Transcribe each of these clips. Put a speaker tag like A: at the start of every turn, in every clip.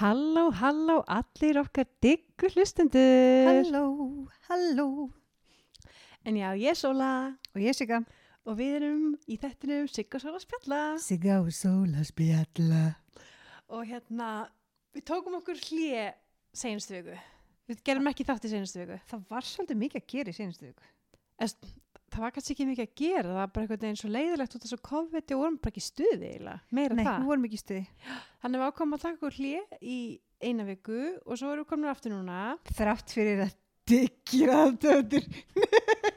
A: Halló, halló, allir okkar diggu hlustendur.
B: Halló, halló
A: En já, ég er Sóla
B: Og ég er Sigga
A: og við erum í þettinum Sigga og Sóla spjalla.
B: Sigga og Sóla spjalla
A: Og hérna, við tókum okkur hlýje senastu viku. Við gerum ekki þátt í senastu viku.
B: Það var svolítið mikið að gera í sínustu viku
A: Það var kannski ekki mikið að gera, það var bara einhvern veginn svo leiðilegt út af svo COVID og vorum bara ekki í stuði eiginlega. Meira
B: Nei,
A: það.
B: við vorum ekki í stuði
A: Þannig við ákvæmum að taka okkur hlýje í eina viku og svo erum við komin aftur núna.
B: Þrátt fyrir að diggjir aðdöður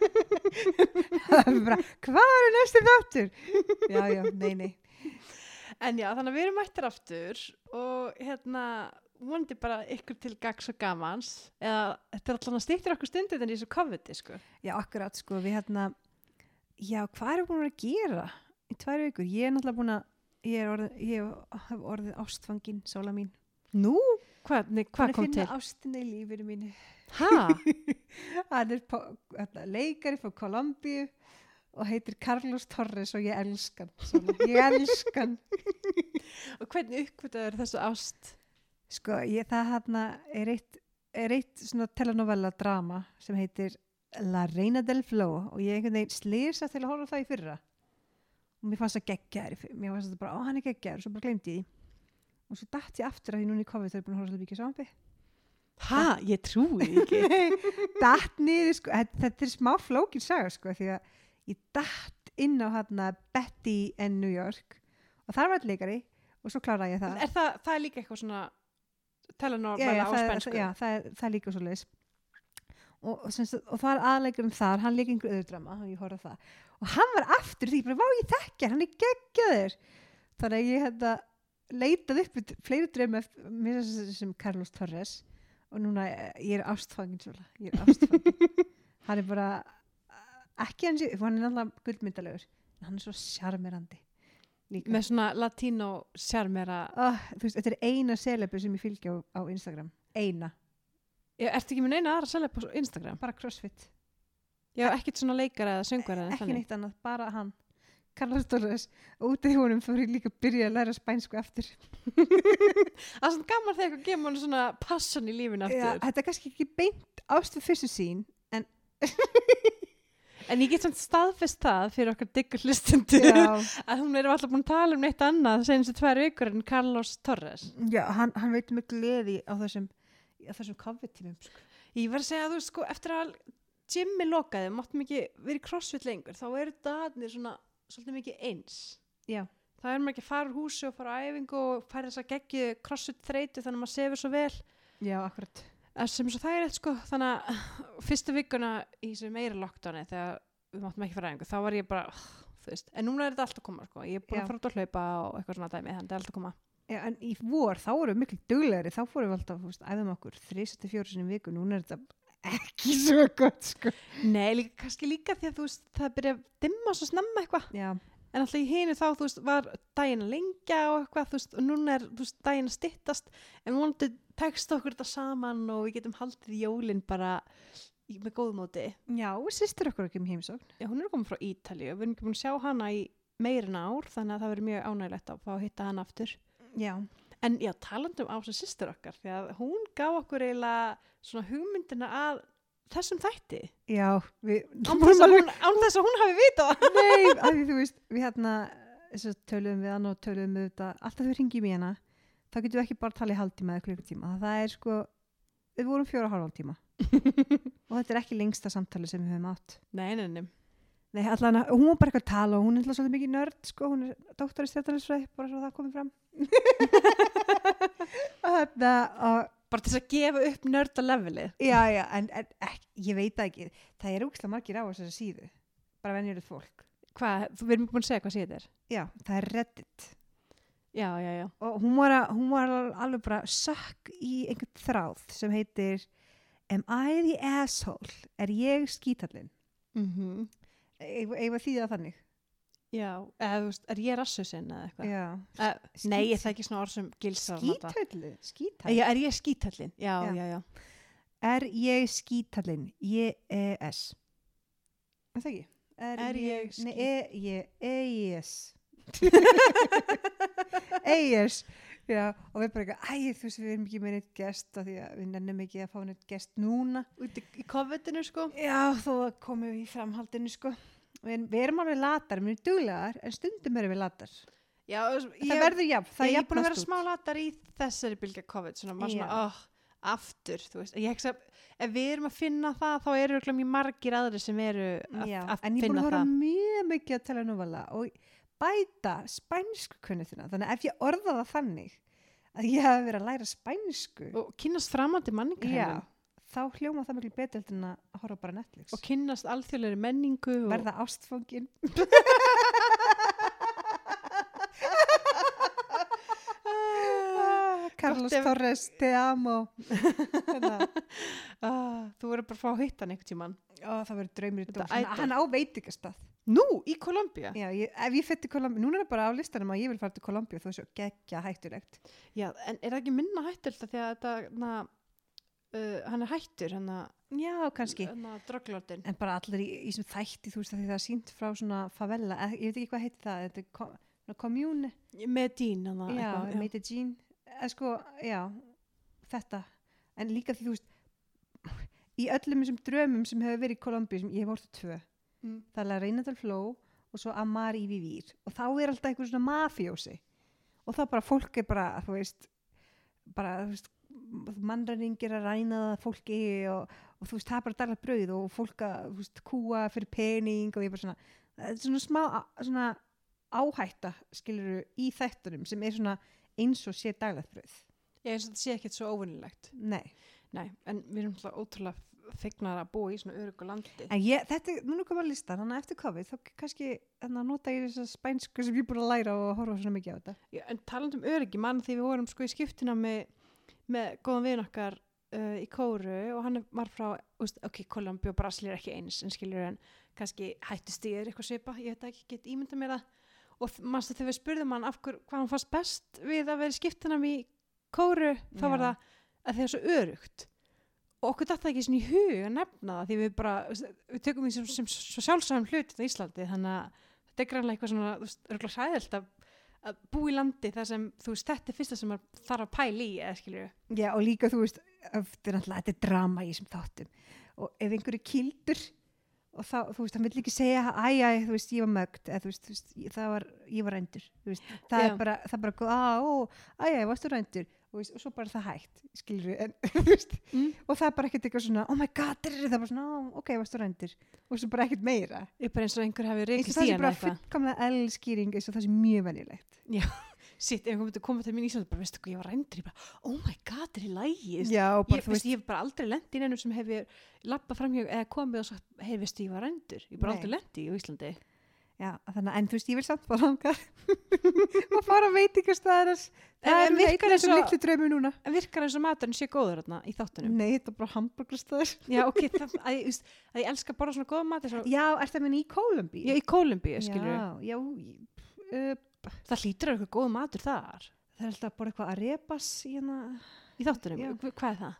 B: Það er bara, hvað eru næstu þáttur? já, já, nei, nei
A: En já, þannig að við erum mættir aftur og hérna vonandi bara ykkur til gags og gamans eða þetta er allan að stýttir okkur stundir en í þessu COVID-i sko.
B: Já, akkurat, sko, við hérna Já, hvað erum við búin að vera að gera í tvær vikur? Ég er náttúrulega búin að Ég, er orðið, ég hef orðið ástfangin, Sóla mín
A: Nú? Hvað, nei, hvað
B: Búin
A: kom
B: að
A: til?
B: finna ástina í lífinu mínu
A: Hæ?
B: hann er po- hérna, leikari frá Kolumbíu og heitir Carlos Torres og ég elskan ég elskan
A: og hvernig uppkvitaður þessu ást?
B: sko ég, það hérna er eitt, er eitt svona telenovella drama sem heitir La Reina del Flow og ég einhvern veginn slýrsa til að horfa á það í fyrra og mér fannst það geggjær í fyrra. mér fannst það bara, ó hann er geggjær og svo bara gleymdi ég því og svo datt ég aftur að því núna í COVID þau eru búin að horfa svolítið mikið sambi
A: Hæ? Ég trúi því ekki.
B: datt niður sko, þetta, þetta er smá flókin saga sko, því að ég datt inn á hérna Betty in New York og þar var þetta leikari og svo kláraði ég það
A: er það, það er líka eitthvað svona
B: já, já,
A: telenormæla á
B: það, er-
A: spænsku?
B: já, það, er- það er líka svo leis og, og, sem sagt- og það er aðleikurinn þar hann líka einhver öður drama og ég horfði á það og hann var aftur því, bara vá ég þekkja hann hann er geggjaður þannig að ég hérna leitað upp við fleiri drauma eftir- mér finnst þessi sem Carlos Torres og núna eh, ég er ástfangin svolga. ég er ástfangin hann er bara eh, ekki hans, hann er náttúrulega guldmyndalegur en hann er svo sjarmerandi líka
A: Með svona latínó sjarmera.
B: oh, þú veist, þetta er eina selebu sem ég fylgja á, á Instagram eina
A: Ég- Ertu ekki með neina aðra selja på Instagram?
B: bara crossfit,
A: Já, ekkert svona leikara eða söngara eða
B: ekki neitt annað, bara hann Carlos Torres, og út af húnum fyrir líka að byrja að læra spænsku eftir,
A: Það er svona gaman þegar eitthvað gemur svona passion í lífinu aftur.
B: Já, þetta er kannski ekki beint ást við fyrstu sín
A: En ég get samt staðfest það fyrir okkar diggur hlustundur
B: já,
A: að hún er alltaf búin að tala um neitt annað senast í tvær vikur en Carlos Torres.
B: já hann, hann veit með gleði á þessum, á þessum COVID-tímum sko.
A: Ég var að segja að þú veist, sko eftir að Jimmy lokaði, máttum ekki verið í crossfit lengur, þá eru dagarnir svona svolítið mikið eins.
B: Já.
A: Það er maður ekki að fara úr húsi og fara á æfingu og færa þess að geggju crossfit þreytu þannig að maður sefur svo vel.
B: já, akkurat
A: Það sem svo það er eitt sko, þannig að fyrstu vikuna í þessu meira lockdowni þegar við máttum ekki fara að æfingu, þá var ég bara, "Ugh," þú veist, en núna er þetta allt að koma sko, ég er búin
B: Já.
A: að fara út að hlaupa og eitthvað svona dæmi, þannig að þetta er allt að koma.
B: já, en í vor þá vorum við miklu duglegri þá fórum við alltaf, þú veist, æfum okkur 3-4 sinni í viku, núna er þetta ekki svo gott sko.
A: Nei, líka, kannski líka því að þú veist, það byrja að dimma svo snemma eitthvað.
B: já,
A: En alltaf í hinu þá, þú veist, var daginn að lengja og eitthvað, þú veist, og núna er, þú veist, daginn að styttast, en vonandi tekst okkur þetta saman og við getum haldið jólin bara í- með góðmóti.
B: já, sýstir okkur ekki um heimsókn
A: Já, hún er komin frá Ítalíu, við erum ekki búin að sjá hana í meirin ár, þannig að það verður mjög ánægilegt að fá að hitta hana aftur.
B: já,
A: En já, talandum á sem sýstur okkar, því að hún gaf okkur eiginlega svona hugmyndina að þessum þætti.
B: já við,
A: Án þess að hún, án þess að hún hafi vitað.
B: Nei, af því þú veist, við hérna svo töluðum við hann og töluðum við þetta alltaf við ringjum í hana, þá getum við ekki bara talið halvtíma eða klukkutíma, það er sko við vorum fjóra og halvan tíma og þetta er ekki lengsta samtali sem við höfum átt
A: Nei, nei, nei.
B: Nei, allan, að- hún var bara eitthvað að tala og hún er alltaf svolítið mikið nörd sko, hún er doktor í stjættanisfræði bara svo það komið fram og þetta og
A: Bara til þess að gefa upp nörda levelið.
B: já, já, en, en ekki, ég veit það ekki það er úkslega margir á þessari síðu bara venjulegt fólk
A: Hvað, þú verðum búin að segja hvað síðan er?
B: já, það er reddit
A: Já, já, já.
B: og hún var, að, hún var al- alveg bara sökk í einhvern þráð sem heitir Am I the asshole? Er ég skítallinn?
A: Mm
B: Eða því það þannig?
A: Já, eða þú veist, er ég rassusinn eða eitthvað?
B: Já.
A: Uh, nei,
B: skít-
A: ég þekki svona orð sem gilsar
B: Skítallinn? Skítallinn?
A: Já, er ég skítallinn? Já,
B: Já.
A: já, já.
B: Er ég skítallinn? J-E-S. Er það ekki?
A: Er ég skít-
B: Nei, E-J-E-S. E-J-S. Já, og við bara eitthvað, æ, þú veist, við erum ekki með neitt gest af því að við nennum ekki að fá neitt gest núna.
A: út í- í COVID-inu sko
B: Já, þó komum við í framhaldinu, sko. Við, við erum alveg latar, við erum duglegar, en stundum erum við latar.
A: já,
B: það verður jafn, það
A: ég er
B: jafnast
A: búin að vera
B: út.
A: smá latar í þessari bylgja COVID svona, maður
B: Já.
A: svona, oh, aftur þú veist, ég heksa, ef við erum að finna það þá eru örugglega mjög margir aðri sem eru að,
B: Já,
A: að
B: en ég er búin
A: finna
B: að vera
A: það
B: mjög mikið að tala núvala og bæta spænsku kunnitina, þannig að ef ég orða það þannig að ég hafi verið að læra spænsku,
A: og kynnast framandi
B: já,
A: manningarheimum
B: þá hljóma það miklu betur heldur en að horfa bara á Netflix.
A: og kynnast alþjóðleiri menningu og
B: verða ástfóngin.
A: Ah,
B: Ah, Carlos
A: Gott ef-
B: Torres, te amo. Hérna,
A: Ah, þú verður bara að fá að hitta hann einhvern tíman
B: Ó, það verður draumur í
A: Þetta
B: dós. Hann,
A: ædol.
B: hann á veitingastað.
A: nú, í Kolumbía
B: Já, ég, ef ég fyrir til Kolumbíu, núna er það bara á listanum að ég vil fara til Kolumbíu þó þessu geggja hættulegt.
A: Já, en er það ekki minna hættur þetta því að þetta, na, uh, hann er hættur, hann að
B: Já, kannski.
A: drögglótin.
B: En bara allir í, í sem þætti, þú veist, af því það er sínt frá svona favela, eh, ég veit ekki hvað heitir það, þetta er kom, no, komjúni,
A: Með dín, hann að
B: Ah, já, Medellín, eða sko, já, þetta. En líka því, þú veist, í öllum þessum drömmum sem hefur verið í Kolumbíu, sem ég hef orðið tvö,
A: Mm.
B: það er La Reina del Fló og svo Amar í Vivir og þá er alltaf einhver svona mafjósi og þá bara fólk er bara, þú veist bara, þú veist mannræningir að ræna það fólki og, og þú veist, það er bara daglega brauð og fólk að, þú veist, kúa fyrir pening og ég bara svona, þetta er svona smá svona áhætta skiluru í þættunum sem er svona eins og sé daglega brauð
A: Ég eins og þetta sé ekkert svo óvinnilegt.
B: Nei,
A: Nei, en við erum alltaf ótrúlega fegnar að búa í svona örugu landi.
B: en ég, þetta, núna kom að listan þannig að eftir COVID, þá kannski þannig að nota ég þessa spænsku sem ég er búin að læra og horfa svona mikið á þetta
A: Já, en taland um örugi, mann því við vorum sko í skiptina með, með góðan vin okkar uh, í Kóru og hann var frá, úst, ok, Kolumbi og Brasil er ekki eins, en skilur en kannski hættist ég er eitthvað svipa, ég veit það ekki, get ímynda mér það og mannstu þegar við spurðum hann af hver, hvað hann fannst best við að vera í skiptinam í Kóru, þá var
B: Já.
A: það að það er svo örugt og okkur datt það ekki svona í hug að nefna það því við bara, þú veist, við tökum því sem, sem svo sjálfsæðum hlut í Íslandi þannig að þetta er grannlega eitthvað svona, þú veist, örgulega sæðilt að, að búa í landi þar sem, þú veist, þetta er fyrsta sem maður þarf að pæla í, eða skilju
B: Já, og líka þú veist, þetta er náttúrulega, þetta er drama í þessum þáttum. Og ef einhverju kildur, og þá, þú veist, hann vill ekki segja, æ, æ, þú veist, ég var mögt, eða þú veist, þú veist, ég- það var, ég var rændur, þú veist, það
A: Já.
B: er bara, það er bara, góð, á, ó, æ, æ, varstu rændur, þú veist, og svo bara það hægt, skilur við, en, þú veist,
A: Mm.
B: og það er bara ekkert eitthvað svona, oh my god, það er það bara svona, "Ó, ok, varstu rændur, og svo bara ekkert meira.
A: ég er bara eins og einhver hefur
B: Eins og
A: reykist
B: það
A: í
B: sé
A: hann
B: bara
A: eitthvað
B: fullkomlega elskýring, eins og það sé mjög venjulegt.
A: sitt, ef einhver myndi koma til mín í Íslandi bara, veistu hvað, ég var rændur, ég bara, oh my god, þetta er lægist
B: Já, og bara,
A: Ég, veist, ég hef bara aldrei lent í neinum sem hefur lappað framhjá eða komið og sagt, hei, veistu, ég var rændur. Ég hef bara
B: Nei.
A: aldrei lent í á Íslandi.
B: Já, þannig að, en þú veist, ég vil samt fara hangar og fara veitingastæðaras
A: En-
B: það
A: en
B: er
A: virkar
B: veitingastæðar
A: eins
B: svo...
A: og-
B: litlu draumi núna
A: En virkar eins og maturinn sé góður þarna í þáttunum?
B: Nei, þetta er bara hamburgastæðar
A: Já, ok, það, að, ég- þú veist, að ég elska að borða svona góða mat eins og-
B: Já, er það minni í Kólumbí?
A: Já, í Kólumbíu, skilur.
B: Já, já ég- uh,
A: Það hlýtur að vera eitthvað góð matur þar
B: það er alltaf að borða eitthvað arepas í hérna. hana
A: í þáttunum.
B: Já.
A: Hva- Hvað er það?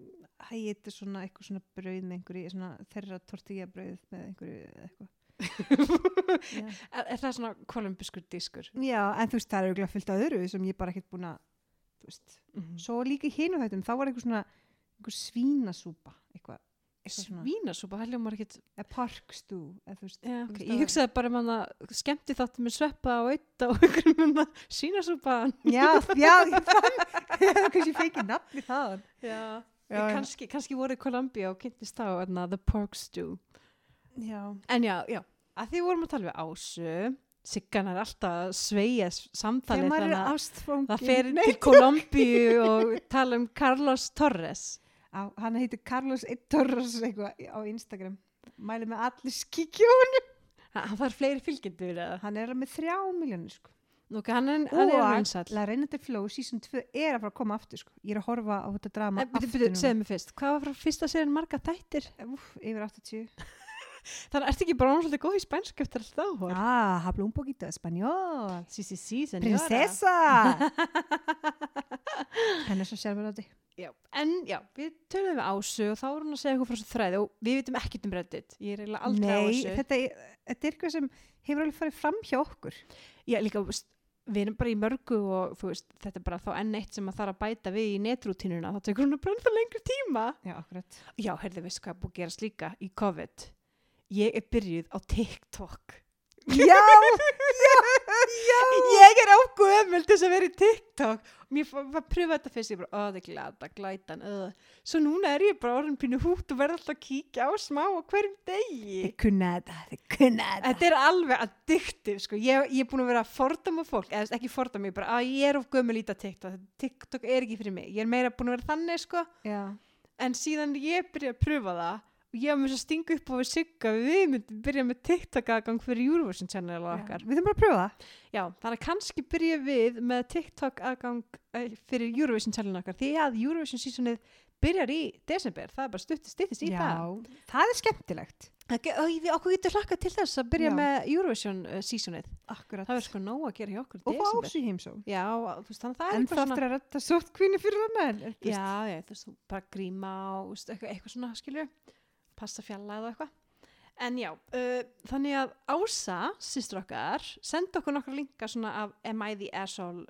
B: Það heitir svona eitthvað svona brauð með einhverju svona þeirra tortilla brauð með einhverju eða eitthvað já.
A: Er, er það svona kolumbískur diskur?
B: já, en þú veist, það er auðvitað fyllt á öðru sem ég bara ekkert búin að þú veist.
A: Mhm.
B: Svo líka í hinu þættum, þá var eitthvað svona einhver svínasúpa eitthvað, eitthvað svona-
A: Svínasúpa, það hljómar ekkert
B: eða parkstú eða þú veist
A: Já,
B: þú
A: ok.
B: veist,
A: Ég
B: það-
A: hugsaði bara um hana skemmti þáttu með sveppa og eitt og einhverjum um að svínasúpa
B: já, já, ég fann kannski fekið nafni þaðan
A: Já,
B: Já,
A: já
B: já.
A: kannski, kannski voru í Kolumbíu og kynntist þá na, The Pork Stew
B: já,
A: En já, já, að því vorum að tala við Ásu Siggan er alltaf að sveigja s- samtalið
B: þegar maður
A: þannig
B: er
A: að
B: ástfangin
A: það fer til Kolumbíu og tala um Carlos Torres
B: á, hann heitir Carlos Eitorros eitthvað á Instagram mæli með allir skikjón
A: Ha- Hann þarf fleiri fylgjendur eða
B: hann er alveg með þrjá miljónir sko.
A: Núka, hann er, hann er
B: og
A: vinsall
B: La Reina del Flow season 2 er að fara að koma aftur sko. ég er að horfa á þetta drama aftur
A: Segðu mér fyrst, hvað var frá fyrsta sérinn marga þættir?
B: Úf, yfir 80
A: Þannig að ertu ekki bara orðin svolítið góð í spænsku eftir alltaf þá hor?
B: ah, habla un poquito español
A: Sí, sí, sí, senora.
B: prinsessa hann er svo sjálfur
A: Já, en já, við töluðum við Ásu og þá voru hún að segja eitthvað frá þessu þræði og við vitum ekkert um Reddit. Ég er eiginlega aldrei á
B: Nei,
A: þessu.
B: þetta, er- þetta er eitthvað sem hefur alveg farið fram hjá okkur.
A: Já, líka, veist, við erum bara í mörgu og þú veist, þetta er bara þá enn eitt sem að þarf að bæta við í netrútínuna, þá tekur hún að brenda lengri tíma.
B: já, akkurat
A: Já, heyrðu, veistu hvað er búið að gerast líka í COVID? Ég er byrjuð á TikTok.
B: já, já, já
A: Ég er ágöðmjöld til þess að vera í TikTok. Mér var var að pröfa þetta fyrst, ég bara, að það glata, glætan, öð. Svo núna er ég bara orðin pínu hút og verð alltaf að kíkja á smá á hverjum degi.
B: þið kunna þetta, þið kunna þetta
A: Þetta er alveg addictive, sko. Ég, ég er búin að vera að fordama fólk, eða þú veist, ekki fordama, ég bara, að ég er of gömul í þetta TikTok. TikTok er ekki fyrir mig. Ég er meira búin að vera þannig, sko.
B: já,
A: En síðan ég byrja að pröfa það, og ég var með þess að stinga upp á við sigga, við myndum byrja með TikTok-aðgang fyrir Eurovision Channel og
B: já.
A: okkar.
B: við þurfum bara að pröfa það
A: Já, þannig að kannski byrja við með TikTok-aðgang eh, fyrir Eurovision Channel okkar, því að Eurovision seasonið byrjar í desember, það er bara stuttist, stuttist í það.
B: já, það er skemmtilegt
A: Það ge- og ég- Okkur getur hlakka til þess að byrja
B: Já.
A: með Eurovision eh, seasonið.
B: akkurat
A: Það verður sko nóg að gera hjá okkur í
B: og fá
A: desember.
B: ásí heimsó
A: Já, þú veist, þannig að það er
B: en það aftur að rætta sótkvinni fyrir það með
A: Já, já, þú veist, þú bara gríma og veist, eitthvað, eitthvað svona, skilju, passa fjalla eða eitthvað. En já, uh, þannig að Ása, sýstur okkar, senda okkur nokkra linka svona af Am I the Asshole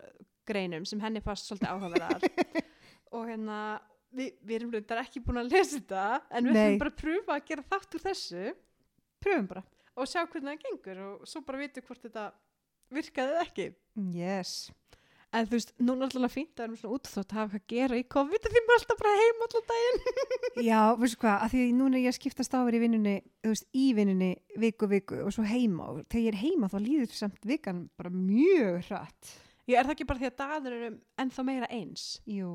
A: greinum sem henni fast svolítið áhugaverðar. og hérna, við, við erum reyndar ekki búin að lesa þetta, en við
B: Nei.
A: ætlum bara að pröfa að gera þátt úr þessu
B: pröfum bara
A: og sjá hvernig það gengur og svo bara vitum hvort þetta virkaði eða ekki.
B: yes
A: En þú veist, núna er alltaf fínt að erum svona útþótt að hafa eitthvað að gera í COVID af því maður er alltaf bara heim alltaf daginn.
B: Já, veistu hvað, að því núna er ég að skiptast á verið í vinnunni, þú veist, í vinnunni viku, viku og svo heima og þegar ég er heima þá líður samt vikan bara mjög hratt.
A: Ég er það ekki bara því að dagar eru ennþá meira eins.
B: Jú,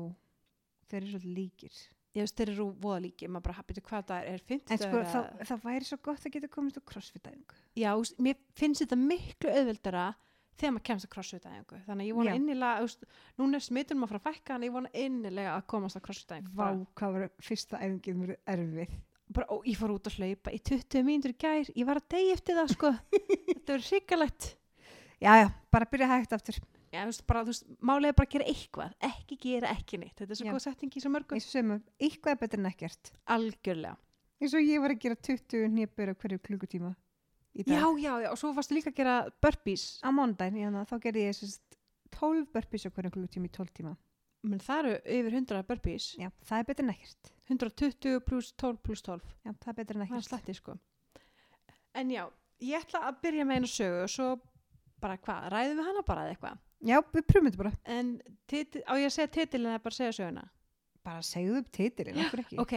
B: þeir eru svolítið líkir.
A: Ég veist, þeir eru voða líki, maður bara hafði hvað það er, er
B: En
A: fimmtudagur
B: sko,
A: eða-
B: það, það væri svo gott að geta komist á crossfit-æfingu.
A: Já, þú veist, mér finnst þetta miklu auðveldara þegar maður kemst að crossfit-æfingu. Þannig að ég vona
B: Já.
A: innilega, þú veist, núna er smitunum að fara að fækka, en ég vona innilega að komast að crossfit-æfingu.
B: Vá,
A: Bara-
B: hvað var fyrsta æfingin mér erfið.
A: Bara, ó, ég fór út að hlaupa í 20 mínútur í gær, ég var að degi eftir það, sko. þetta verður hrikalegt.
B: Já, já, bara byrja hægt aftur,
A: Já, þú veist, bara, þú veist, málið er bara að gera eitthvað, ekki gera ekki neitt. Þetta er svo
B: Já.
A: góð setting í svo mörgu.
B: eins og sem að eitthvað er betur en ekkert.
A: Algjörlega.
B: Eins og ég var að gera 20 nýpur á hverju klukkutíma í dag.
A: Já, já, já, og svo varstu líka að gera burpees.
B: Á mondaginn, já, þá gerði ég sérst 12 burpees á hverju klukkutíma í 12 tíma.
A: Men það eru yfir 100 burpees,
B: Já, það er betur en ekkert.
A: 120 pluss 12 pluss 12,
B: Já, það er betur en
A: það er
B: ekkert.
A: slætti sko. En já, ég ætla að byrja með einu sögu og svo bara hvað, ræðum við hana bara eða eitthvað.
B: Já, við pröfum þetta bara.
A: En titi- á ég að segja titilin eða bara segja söguna?
B: Bara segðu upp titilinn,
A: Já,
B: okkur ekki.
A: Ok,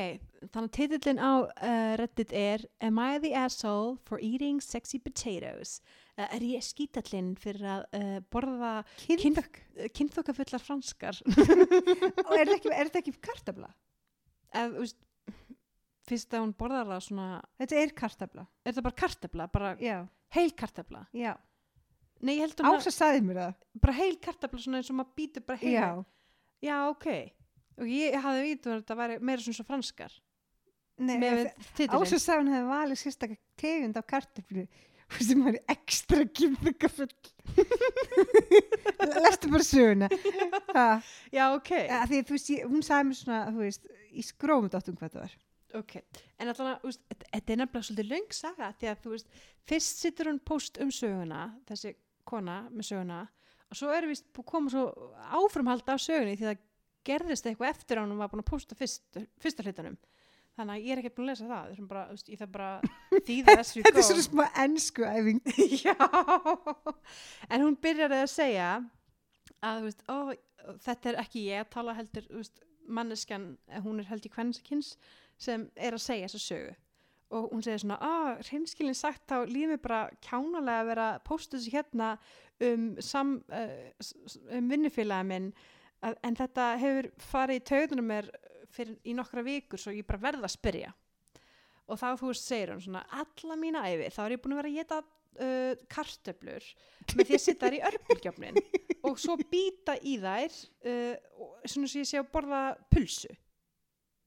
A: þannig að titilin á uh, Reddit er Am I the asshole for eating sexy potatoes? Uh, er ég skítallinn fyrir að uh, borða
B: Kynþökk.
A: kynþokkafullar franskar?
B: Og er þetta ekki, er þetta ekki kartabla?
A: Eða, þú veist, fyrst að hún borðar það svona,
B: Þetta er kartabla.
A: er þetta bara kartefla, bara
B: Já,
A: heil kartefla?
B: já.
A: Nei, ég held um
B: Ása sagði mér það.
A: að bara heil kartafla svona eins og maður býtur bara heil.
B: Já.
A: Já, ok. Og ég hafði vítið að þetta væri meira svona svo franskar.
B: Nei,
A: Með
B: ef-
A: titilin.
B: Ása sagði hún hefði valið sérstakka tegund af kartablu sem er ekstra kynþökkafull. Lestu bara söguna. Ha,
A: Já, ok.
B: að því, þú veist, ég, hún sagði mér svona, þú veist, í skrómut áttum hvað það var.
A: Ok. En allan að, þú veist, þetta- þetta er nefnilega svolítið löng saga því að, þú veist, fyrst situr hún post um söguna, þessi kona með söguna, og svo er vist komið svo áframhald af sögunni því að það gerðist eitthvað eftir að hún var búin að posta fyrst, fyrsta hlutanum. Þannig að ég er ekkert búin að lesa það. Þessum bara, þú veist, ég þarf bara að þýða þessu í
B: Þetta er
A: góm.
B: svona smá ennsku æfing.
A: Já, en hún byrjar að segja að þú veist, ó, þetta er ekki ég að tala heldur, þú veist, manneskjan, eh, hún er held í kvennkins sem er að segja þessa sögu. Og hún segir svona, að reynskilin sagt þá líður mér bara kjánalega að vera að pósta þessu hérna um, sam, uh, um vinnufélagi minn að, en þetta hefur farið í taugunum mér fyrir, í nokkra vikur svo ég bara verð að spyrja. Og þá þú veist segir hún svona, alla mína æfi, þá er ég búin að vera að geta uh, kartöflur með því að setja þær í örbulgjöfnin og svo býta í þær uh, og svona sem ég sé að borða pulsu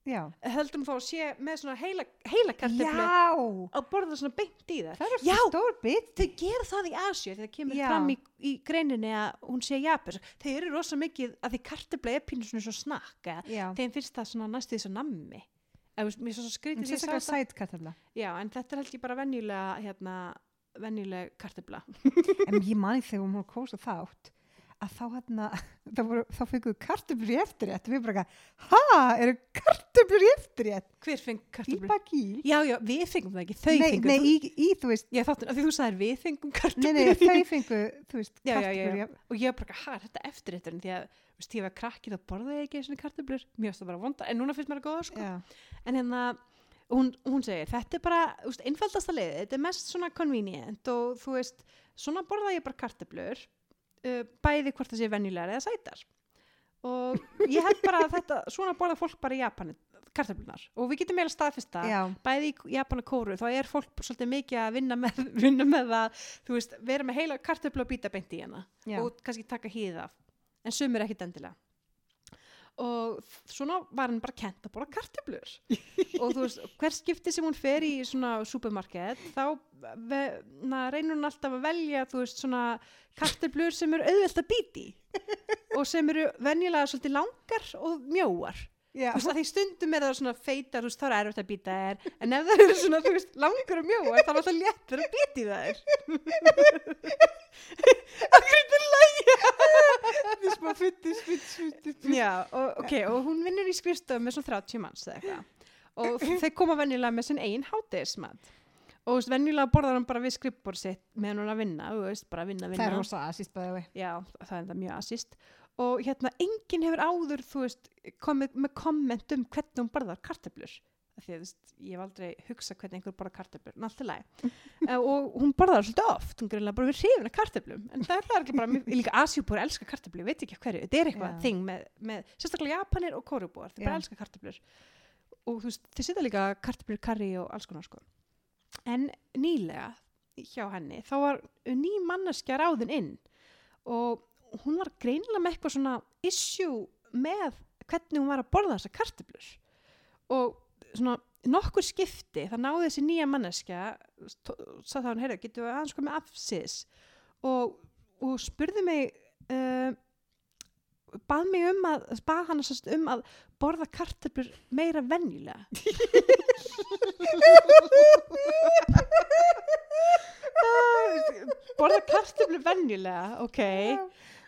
B: Já.
A: heldum þá að sé með svona heila, heila kartöflu
B: Já.
A: að borða svona beint í þær
B: Það er
A: Já.
B: svo stór bit.
A: þau gera það í Asju þegar það kemur
B: Já.
A: fram í, í greininni að hún sé japur þau eru rosa mikið að því kartöfla er pínu svona svo snakka
B: Já.
A: þeim finnst það svona næstu því svo nammi Eða, þú veist, mér er svo skrítið því að
B: Sérstaklega
A: ég sá þetta.
B: sæt kartabla.
A: Já, en þetta er held ég bara venjulega hérna, venjuleg kartöfla
B: En ég mani þegar hún var að kósa þátt að þá hérna þá, voru, þá fengum við kartöflur í eftirrétt og við bara eitthvað, ha, eru kartöflur í eftirrétt
A: Hver feng
B: í
A: kartöflur?
B: bakí
A: Já, já, við fengum það ekki, þau
B: nei,
A: fengum
B: nei, í, í, þú veist
A: Ég þáttu, af því þú sagðir við fengum
B: nei,
A: kartöflur
B: nei, þau fengu, þú veist,
A: Já, já, já,
B: kartöflur
A: já.
B: í-
A: og ég var bara, hæ, þetta er eftirrétturinn því að, þú veist, ég var krakkið og borðaði ekki svona kartöflur, mér varst það bara vonda en núna finnst mér það góða, sko,
B: já,
A: en hérna hún, hún segir, þetta er bara, þú veist, einfaldasta leið þetta er mest svona convenient og þú veist, svona borða ég bara kartöflur uh, bæði hvort það sé venjulegar eða sætar og ég held bara að þetta, svona borða fólk bara í Japani, kartöflunar og við getum eiginlega staðfesta
B: já,
A: bæði í Japan og Kóru þá er fólk svolítið mikið að vinna með, vinna með að þú veist, vera með heila kartöflu og býta beint í hana
B: já.
A: og kannski taka hýð af en sumir ekkit endilega og þ- svona var hann bara kent að borða kartöflur og þú veist, hver skipti sem hún fer í svona supermarket þá ve- na, reynir hún alltaf að velja þú veist, svona kartöflur sem eru auðvelt að býti og sem eru venjulega svolítið langar og mjóar
B: já.
A: þú veist, að því stundum er það svona feitar, þú veist, þá er erfitt að býta þær en ef það eru svona, þú veist, langur og mjóar þá er alltaf léttur að býta í þær
B: Þetta er smá fytti, fytti, fytti, fytti.
A: Já, og, ok, og hún vinnur í skrifstöðum með svona 30 manns eða eitthvað og þeir koma venjulega með sinn eigin hátegismat og þú veist, venjulega borðar hann bara við skrifbór sitt meðan hún er að vinna, þú veist, bara vinna,
B: Það
A: vinna
B: er rosa asist bæði
A: Já, það er enda mjög assist og hérna, enginn hefur áður þú veist, komið með komment um hvernig hún borðar kartöflur Af því að þú veist, ég hef aldrei hugsað hvernig einhver borðar kartöflur en allt í lagi Eh, og hún borðar þær svolítið oft, hún greinlega bara við hrifin af kartöflum en það er það ekki bara, mér- líka asjúbúr elska kartöflur, ég veit ekki af hverju, þetta er eitthvað
B: Já.
A: þing með, með, sérstaklega japanir og korubúar þeir bara
B: Já.
A: elska kartöflur og þú veist, þeir setja líka kartöflur, karri og alls konar sko en nýlega hjá henni, þá var ný manneskja ráðin inn og hún var greinilega með eitthvað svona issue með hvernig hún var að borða þessa kartöflur og svona nokkur skipti það náði þessi nýja manneskja sað það hún, heyrðu, getur við aðeins komið afsýðis og, og spurði mig uh, bað mig um að bað hann sérst um að borða kartöflur meira venjulega Ah, borða kartöflur venjulega, ok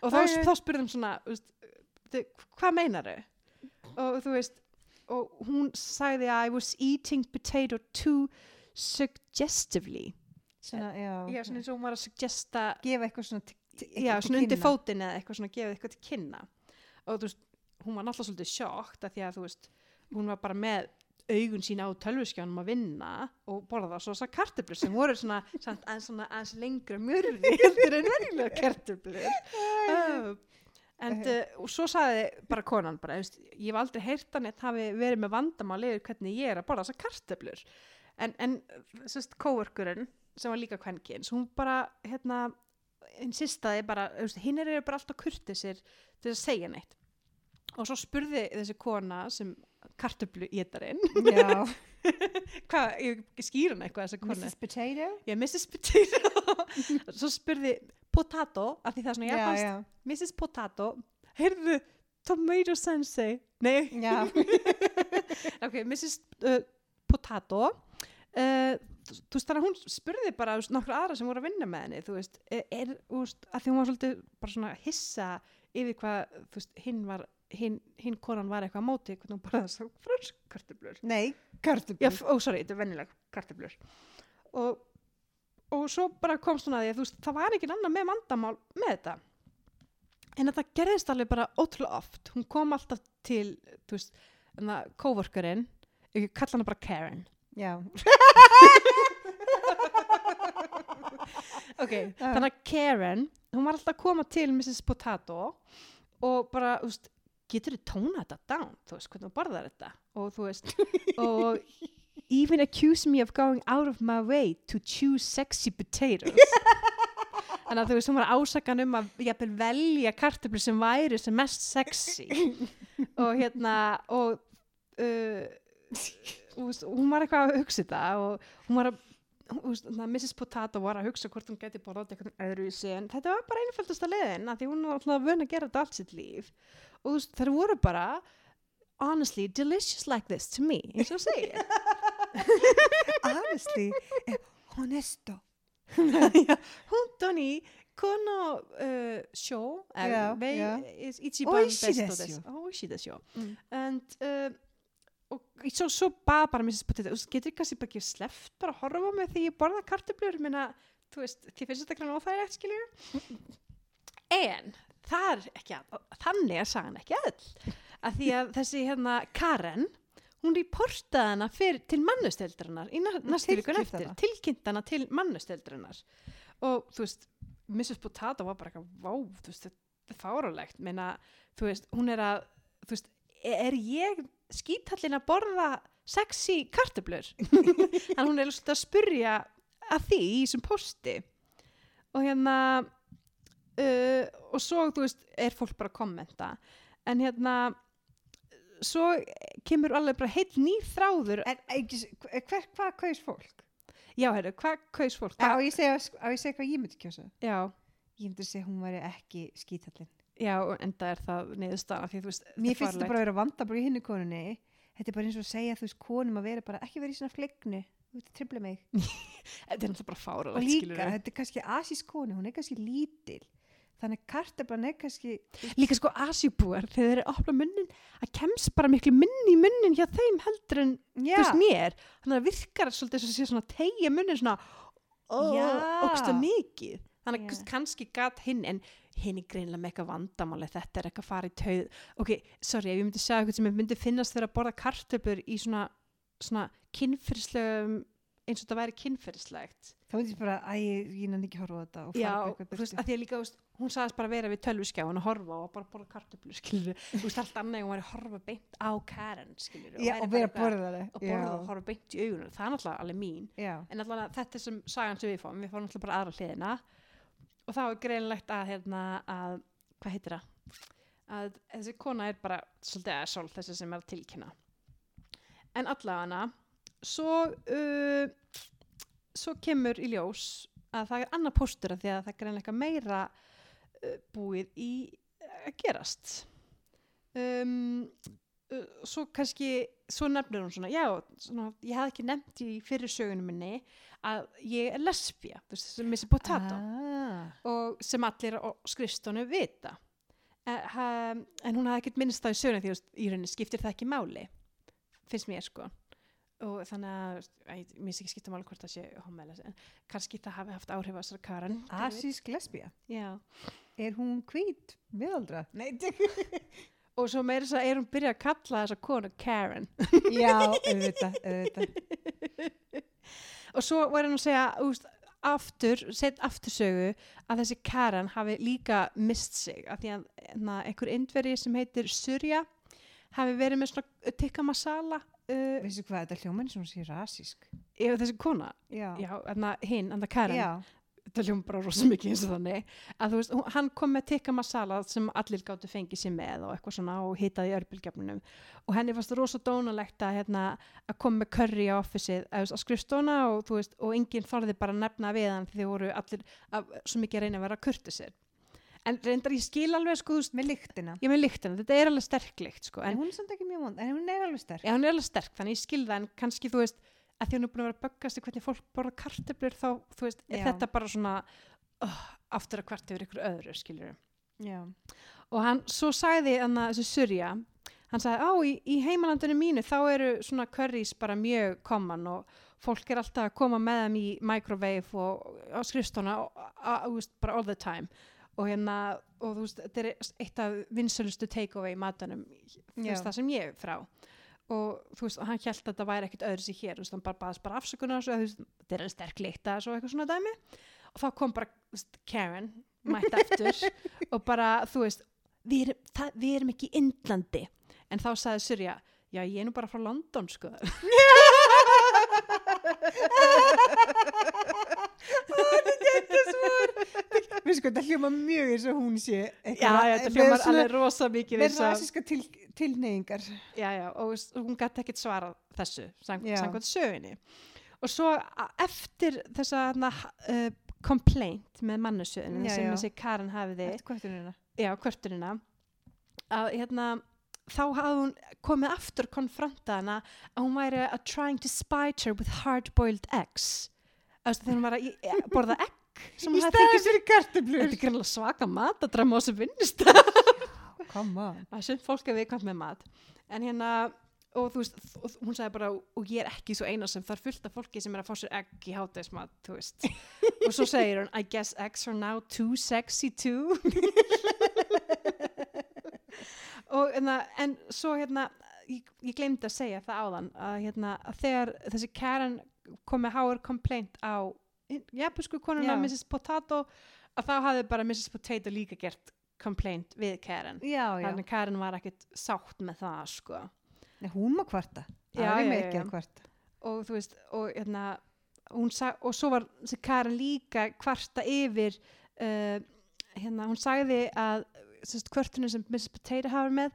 A: og þá,
B: Æ.
A: þá spurðum svona þú veist, "Bíddu, hvað meinaru og þú veist og hún sagði að I was eating potato too suggestively Eh,
B: Svona, já.
A: já, svona eins og hún var að suggesta
B: Gefa eitthvað svona til- til-
A: já,
B: eitthvað til
A: svona undir
B: kynna.
A: fótinn eða eitthvað svona gefið eitthvað til kynna og þú veist, hún var náttúrulega svolítið sjokkt af því að þú veist, hún var bara með augun sína á tölvuskjánum að vinna og borða það svo þessar kartöflur sem voru svona, samt, aðeins, svona aðeins lengra mjörði heldur en venjulega kartöflur uh, en uh, og svo sagði bara konan bara, þú veist, ég hef aldrei heyrt hann eitt hafi verið með vandamáli yfir hvernig ég er að borða þessar kartöflur en, en sérst, kóverkurinn sem var líka kvenkins, hún bara hérna, insistaði bara, þú veist, hinn eru bara alltaf kurtisir til þess að segja neitt og svo spurði þessi kona sem kartöflu étarinn
B: Já,
A: Oh. hvað, ég skýra hann eitthvað þessa konu
B: Mrs. Potato.
A: ég Mrs. Potato svo spurði potato af því það er svona
B: Já,
A: japanst
B: já.
A: Mrs. Potato heyrðu, tomato sensei eh? nei,
B: Já,
A: ok, Mrs. Uh, Potato uh, þú þú veist þannig að hún spurði bara þú veist, nokkra aðra sem voru að vinna með henni þú veist, er, er, þú veist, að því hún var svolítið bara svona hissa yfir hvað þú veist, hinn var, hinn, hinn konan var eitthvað á móti, hvernig hún bara þess að fransk kartöflur,
B: nei,
A: já,
B: kartöflur.
A: f- ó, sorry, þetta er venjuleg kartöflur og, og svo bara komst hún að því að þú veist, það var ekki annar með vandamál með þetta en þetta gerðist alveg bara ótrúlega oft hún kom alltaf til, þú veist þannig að coworkerinn ég kalla hana bara Karen
B: Já,
A: okay. þannig að Karen, hún var alltaf að koma til Mrs. Potato og bara, þú veist, getur þið tóna þetta down, þú veist, hvernig þú borðar þetta og þú veist, og even accuse me of going out of my way to choose sexy potatoes þannig að þú veist, hún var ásakan um að jafnvel velja kartöflur sem væri sem mest sexy og hérna, og uh, þú veist, hún var eitthvað að hugsa þetta og hún var að þú veist, þarna Mrs. Potato var að hugsa hvort hún geti borðað eitthvað öðru í sig en þetta var bara einfældasta leiðin að því hún var alltaf vön að gera þetta allt sitt líf og þú veist, þær voru bara honestly delicious like this to me eins og segir
B: honestly, eh, honesto.
A: Já, hún Doni kono uh, sjó
B: Já,
A: er, vei,
B: já.
A: is ichiban
B: Oishi
A: besto
B: desu.
A: desu Oishi desu
B: Mm.
A: and uh, og svo, svo bað bara Mrs. Potato, þú veist, getur kannski bara ekki sleppt bara að horfa á mig því ég borða kartöflur minna, þú veist, því finnst þetta grann óþægilegt skilju en það er ekki að, þannig að sagan ekki öll að því að þessi hérna Karen hún reportaði hana fyrir, til mannusteldrarinnar í na- næstu vikun
B: tilkynnti
A: eftir,
B: hana.
A: tilkynnt hana til mannusteldrarinnar og þú veist Mrs. Potato var bara eitthvað vá, þú veist, þetta er fárulegt meina, þú veist, hún er að þú veist, er ég skítallin að borða sexy kartöblur en hún er svolítið að spurja að því í þessum posti og hérna uh, og svo, þú veist, er fólk bara að kommenta en hérna svo kemur alveg bara heill ný þráður
B: En eh, ekki, s- hver, hver- hvað kaus fólk?
A: já, herru, hvað kaus fólk?
B: Á
A: Hvað-
B: ég segja, á ég segja hvað ég myndi kjósa?
A: já,
B: Ég myndi segja hún væri ekki skítallin.
A: já, en það er það niðurstaðan því, þú veist,
B: Mér finnst þetta
A: fáránlegt.
B: bara að vera vandabur í hinni konunni. Þetta er bara eins og að segja þú veist konum að vera bara ekki verið í svona flegnu. Þú veist, tripla mig.
A: þetta er náttúrulega bara
B: Og
A: fárulegt
B: líka, þetta er kannski asísk konu, hún er kannski lítil. Þannig að kartablan er kannski,
A: líka sko asjúbúar þegar þeir eru að opna munnin að kemst bara miklu minni í munnin hjá þeim heldur en
B: já,
A: þú veist mér þannig að virkar svolítið svo sé svona að tegja munnin svona
B: Já.
A: ógsta mikið þannig
B: Já.
A: yeah. kannski gat hinn en hinn er greinlega með eitthvað vandamáli þetta er eitthvað farið tauð ok, sorry, ef ég myndi segja eitthvað sem ég myndi finnast þegar að borða kartöflur í svona, svona kynfyrslegum eins og þetta væri kynfyrslegt
B: þá myndi ég bara, æ, ég ég nenni ekki að horfa á þetta og fara
A: Já,
B: bara
A: þú veist,
B: eitthvað byrstu.
A: að því að líka, þú veist, hún sagðist bara vera við tölvuskjáin og horfa og bara borða kartöflur, skilur þú veist, allt annað, ef hún var að horfa beint á Karen, skilur
B: Já, og vera að borða það.
A: og borða og horfa beint í augunum, það er náttúrulega alveg mín
B: Já,
A: en allavega þetta er sem sagan sem við fáum við fáum náttúrulega bara aðra hliðina og þá er greinlegt að, hérna, að hvað heitir það að þessi kona er bara svolítið að sól þessi sem er að tilkynna en allavega hana svo uh, svo kemur í ljós að það er annað póstur að því að það er greinlega eitthvað meira uh, búið í að gerast um, uh, svo kannski, svo nefnir hún svona já, svona, ég hafði ekki nefnt í fyrir sögunum minni að ég er lesbía, þú veist, sem missi potato
B: Ah.
A: og sem allir á skrifstónu vita en, ha, en hún hafði ekkert minnst það í söguna því þú veist, í rauninni skiptir það ekki máli finnst mér sko og þannig að, að ég mér finnst ekki skipta máli hvort það sé homeles en kannski það hafi haft áhrif á þessar Karen hver veit?
B: Asísk lesbía.
A: Já.
B: Er hún hvít, miðaldra? Nei, þetta
A: og svo meira þess að segja er hún byrjað að kalla þessa konu Karen
B: Já, auðvitað, auðvitað.
A: og svo var hann að segja úst, aftur, set aftur sögu að þessi Karen hafi líka mist sig af því að na, einhver indveri sem heitir Surya hafi verið með svona tikka masala uh,
B: Veistu hvað, þetta hljóman sem hún sé rasísk.
A: ef þessi kona,
B: Já,
A: já, enna hinn enna Karen,
B: já,
A: þetta hljóma bara rosa mikið eins og þannig, að þú veist, hún- hann kom með tikka masala sem allir gáttu fengið sér með og eitthvað svona og hitaði í örbylgefnunum og henni fannst rosa dónalegt að hérna, að koma með curry á officeið að, þú veist, að skrifstóna og þú veist, og enginn þorði bara að nefna við hann því þau voru allir að, svo mikið að reyna að vera kurtisir en reyndar ég skil alveg sko, þú veist,
B: með lyktina.
A: ég með lyktina, þetta er alveg sterk lykt sko,
B: En
A: en
B: hún er samt ekki mjög vond, en hún er alveg sterk.
A: Já, hún er alveg sterk, þannig ég skil það en kannski, þú veist, að því hún er búin að vera að böggast í hvernig fólk borða kartöflur þá, þú veist, er
B: Já.
A: þetta bara svona oh, aftur að kvart yfir ykkur öðru, skilur
B: Já.
A: og hann, svo sagði hann að þessu surja hann sagði, á, í, í heimalandinu mínu þá eru svona currys bara mjög koman og fólk er alltaf að koma með þeim í microwave og á skrifstona og, a- a- þú veist, bara all the time og hérna, og þú veist, þetta er eitt af vinsölustu takeaway matunum þú
B: Já.
A: veist, það sem ég er frá og þú veist, og hann held að þetta væri ekkit öðru sér hér, þú veist, hann bara baðast bara afsökunar svo, þú veist, þetta er alveg sterk líkt að svo eitthvað svona dæmi og þá kom bara þú veist, Karen, mætt aftur og bara, þú veist við erum, það, við erum ekki í Indlandi en þá sagði Surya, já ég er nú bara frá London sko
B: Veistu hvað, þetta hljóma mjög eins og hún sé. eitthvað-
A: þetta
B: með
A: hljómar
B: svona-
A: alveg rosa mikið
B: Með
A: eins og-
B: rasíska til, tilneyingar.
A: já, já, og s- hún gæti ekkit svarað þessu sang,
B: Já.
A: samkvæmt sögunni og svo a- eftir þessa hana, uh, complaint með mannusöðunum
B: Já,
A: sem
B: já.
A: þessi Karen hafiði
B: Eftir kvötunina.
A: já, kvörtunina að hérna þá hafði hún komið aftur konfrontað hana að hún væri a trying to spite her with hard boiled eggs Eftir, þegar hún var að í- e- borða egg sem
B: Í
A: hún hafði
B: staðin
A: tekið sér.
B: fyrir
A: Þetta
B: kartöflur.
A: er greinlega svaka matadrama á þessu vinnustæð.
B: Come on.
A: Það er sem fólk er viðkvæmt með mat. En hérna, og þú veist, þ- og hún sagði bara, og ég er ekki svo eina sem það er fullt af fólki sem er að fá sér egg í hátæðismat, þú veist. og svo segir hún, I guess eggs are now too sexy too. og hérna, en svo hérna, ég, ég glemdi að segja það áðan, að hérna, að þegar þessi Karen kom með háar complaint á japansku konuna,
B: Já.
A: Mrs. Potato, að þá hafði bara Mrs. Potato líka gert complaint við Karen
B: Já, já.
A: þannig Karin var ekkert sátt með það sko.
B: Nei, hún má kvarta.
A: Já,
B: Já,
A: já,
B: já,
A: já,
B: ekki
A: já.
B: að kvarta.
A: og þú veist og, hérna, hún sa- og svo var þessi Karin líka kvarta yfir uh, hérna, hún sagði að sérst, kvörtunum sem Mrs. Potato hafa með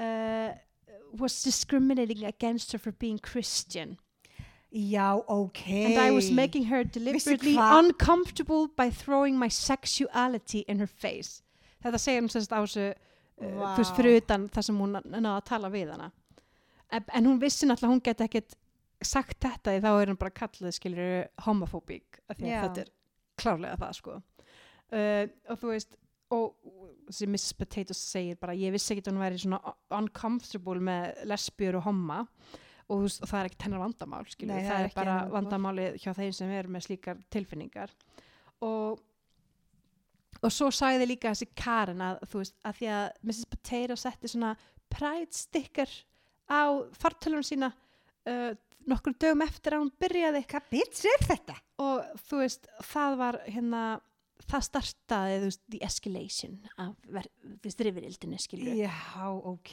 A: uh, was discriminating against her for being Christian
B: Já, ok.
A: and I was making her deliberately
B: hvað?
A: uncomfortable by throwing my sexuality in her face þetta segir hún sérst á þessu uh,
B: Vá.
A: þú veist fyrir utan það sem hún na- náði að tala við hana en, en hún vissi náttúrulega að hún geti ekkert sagt þetta því þá er hún bara kallið skilur homofóbík af því að
B: Já.
A: þetta er klárlega það sko uh, og þú veist og þessi Mrs. Potato segir bara ég vissi ekki að hún væri svona uncomfortable með lesbjur og homma og, þú veist, og það er ekkert hennar vandamál skilur,
B: Nei,
A: það, er
B: ekki
A: bara
B: hennar
A: vandamálið hjá þeim sem er með slíkar tilfinningar og og svo sagði líka þessi Karen að þú veist, að því að Mrs. Potato setti svona pride sticker á fartölunum sína uh, nokkur dögum eftir að hún byrjaði
B: Hvað bits er þetta?
A: og þú veist, það var hérna það startaði, þú veist, the escalation af, ver- þú veist, rifirildinu skilur
B: Já, ok.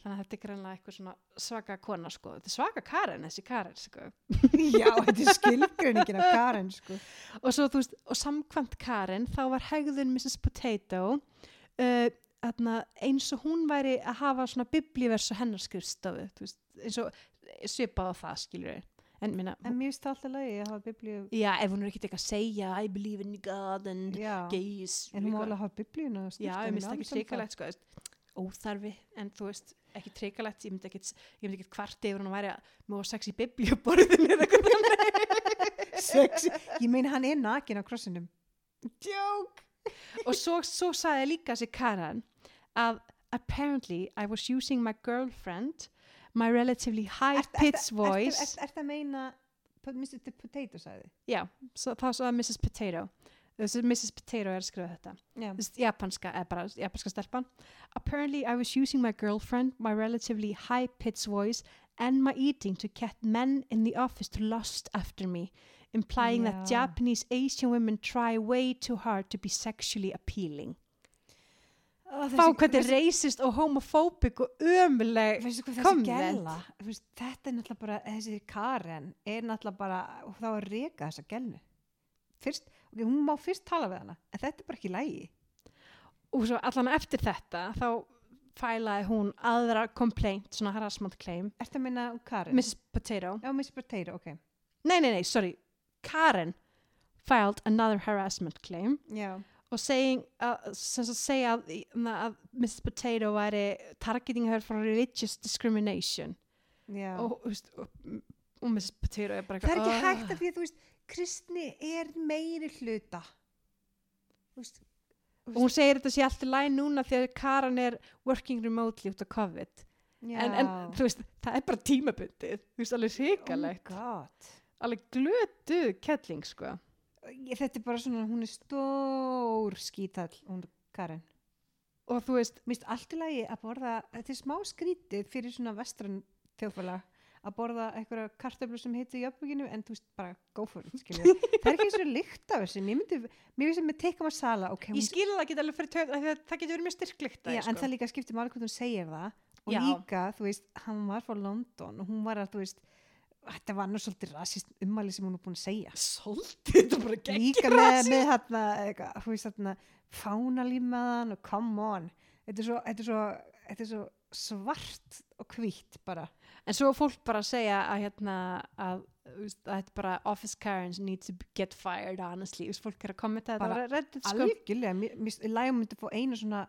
A: þannig að þetta er greinlega eitthvað svona svaka kona sko, þetta er svaka Karen, þessi Karen sko.
B: Já, þetta er skilgreiningin af Karen, sko.
A: og svo þú veist, og samkvæmt Karen þá var hegðun Mrs. Potato uh, atna, eins og hún væri að hafa svona biblívers og hennar skrifstofu, þú veist, eins og svipað á það skilur en minna,
B: En mér finnst það alltaf lagi að hafa biblíu.
A: já, ef hún er ekkert eitthvað að segja I believe in God and
B: Já,
A: gays
B: en hún má
A: eitthvað.
B: alveg hafa biblíuna.
A: Já, ég minnst ekki tryggalegt sko, veist, óþarfi, en þú veist, ekki tryggalegt, ég myndi ekkit, ég myndi ekkit kvarti yfir hún að væri að mjög sex í biblíuborðinu eða eitthvað þannig.
B: Sexy. Ég meina hann er nakin á krossinum.
A: Joke! Og svo, svo sagði líka þessi Karan að apparently I was using my girlfriend, my relatively high-pitched voice.
B: Er þetta að meina, pot- Mr. Potato sagði?
A: Já, svo, það sagði Mrs. Potato. Þessi Mrs. Potato er að skrifa þetta.
B: Já.
A: Þú veist, japanska, eða bara japanska stelpan apparently I was using my girlfriend my relatively high pitched voice and my eating to get men in the office to lust after me implying that
B: Já.
A: Japanese Asian women try way too hard to be sexually appealing fá hvernig racist og homofóbik og ömuleg
B: Veistu hvað þessi
A: Comment.
B: gæla, þetta er náttúrulega bara, þessi Karen er náttúrulega bara, og þá að reka þessa gælu. Fyrst, ok, hún má fyrst tala við hana, en þetta er bara ekki lægi.
A: og svo allan eftir þetta þá fælaði hún aðra complaint, svona harassment claim
B: Ertu að meina um Karen?
A: Mrs. Potato
B: Já, Miss Potato, ok.
A: nei, nei, nei, sorry, Karen filed another harassment claim
B: Já.
A: og saying, uh, sem sagt segja að, na, að Mrs. Potato væri targeting her for religious discrimination
B: Já.
A: og, þú veist, og, og Mrs. Potato er bara
B: það er ekki
A: "Ah."
B: hægt að því að þú veist, kristni er meiri hluta. Þú veist,
A: og hún segir þetta sé allt í læg núna því að Karan er working remotely út af COVID
B: já.
A: en, en þú veist, það er bara tímabundið þú veist, alveg
B: Oh
A: hrikalegt
B: my god.
A: alveg glötu kettling sko
B: Ég, þetta er bara svona, hún er stór skítall, hún Karen.
A: og þú veist,
B: Mér finnst allt í lagi að borða, þetta er smá skrítið fyrir svona vestran þjóðfélag að borða einhverja kartöflur sem heitir jöfnbyggjum en þú veist bara go for it skilur. það er ekki eins og lykt af þessu mér myndi, mér finnst að með teka maður sala okay, hún,
A: ég skil að það getur alveg fyrir töð það getur verið mjög sko. styrklikt
B: já, en það líka skiptir máli hvernig hún segir það og
A: Já.
B: líka, þú veist, hann var frá London og hún var að, þú veist þetta var annars svolítið rasist ummæli sem hún er búin að segja
A: svolítið, þetta er bara geggjur
B: líka með, með hérna, eitthvað, þú veist hérna fánalímaðan og come on þetta er svo, þetta er svo, þetta er svo svart og hvítt bara
A: En svo er fólk bara að segja að hérna að, þú veist, að þetta bara office Karens need to get fired honestly, þú veist, fólk er að kommenta þetta
B: Bara
A: bara reddit sko.
B: algjörlega, mér- mér lægum myndi fá einu svona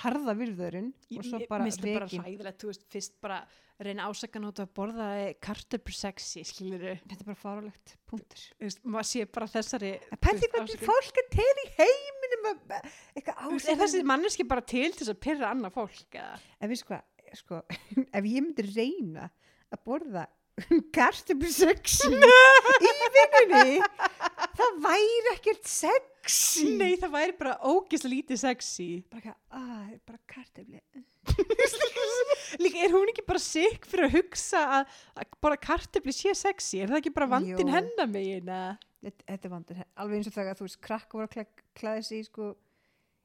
B: harða virðurinn og svo
A: Mér
B: bara
A: finnst það bara
B: rekin.
A: hræðilegt, þú veist, fyrst bara reyna ásakan út að borða kartöpur sexi, skilur
B: þetta er bara farulegt, punktur
A: þú veist, maður sé bara þessari
B: en pælti
A: þú
B: hvernig
A: veist,
B: fólk er til í heiminum að- að- eitthvað
A: ásakana- er þessi
B: ásakandi
A: manneski bara til til þess að pyrra annað fólk eða?
B: ef við sko, sko ef ég myndi reyna að borða kartöflu sexy í vinnunni það væri ekkert sexy
A: nei, það væri bara ógislega lítið sexy
B: bara, eitthvað, "Ah, það er bara kartöflu
A: líka er hún ekki bara sikk fyrir að hugsa að, að bara kartöfli sé sexy er það ekki bara vandin
B: Jú.
A: hennar megin eða?
B: þetta, þetta er vandur, alveg eins og þegar þú veist krakka voru að klæ, klæða sig í sko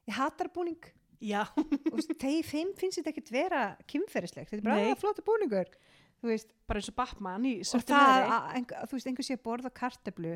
B: í hatarbúning
A: já,
B: og þeir fimm finnst þetta ekkert vera kynferðislegt, þetta er bara
A: Nei.
B: aðeins flóta búningur þú veist,
A: bara eins og Batman í
B: og
A: svörtu
B: það
A: veðri.
B: að einhver, þú veist, einhver sé að borða kartablu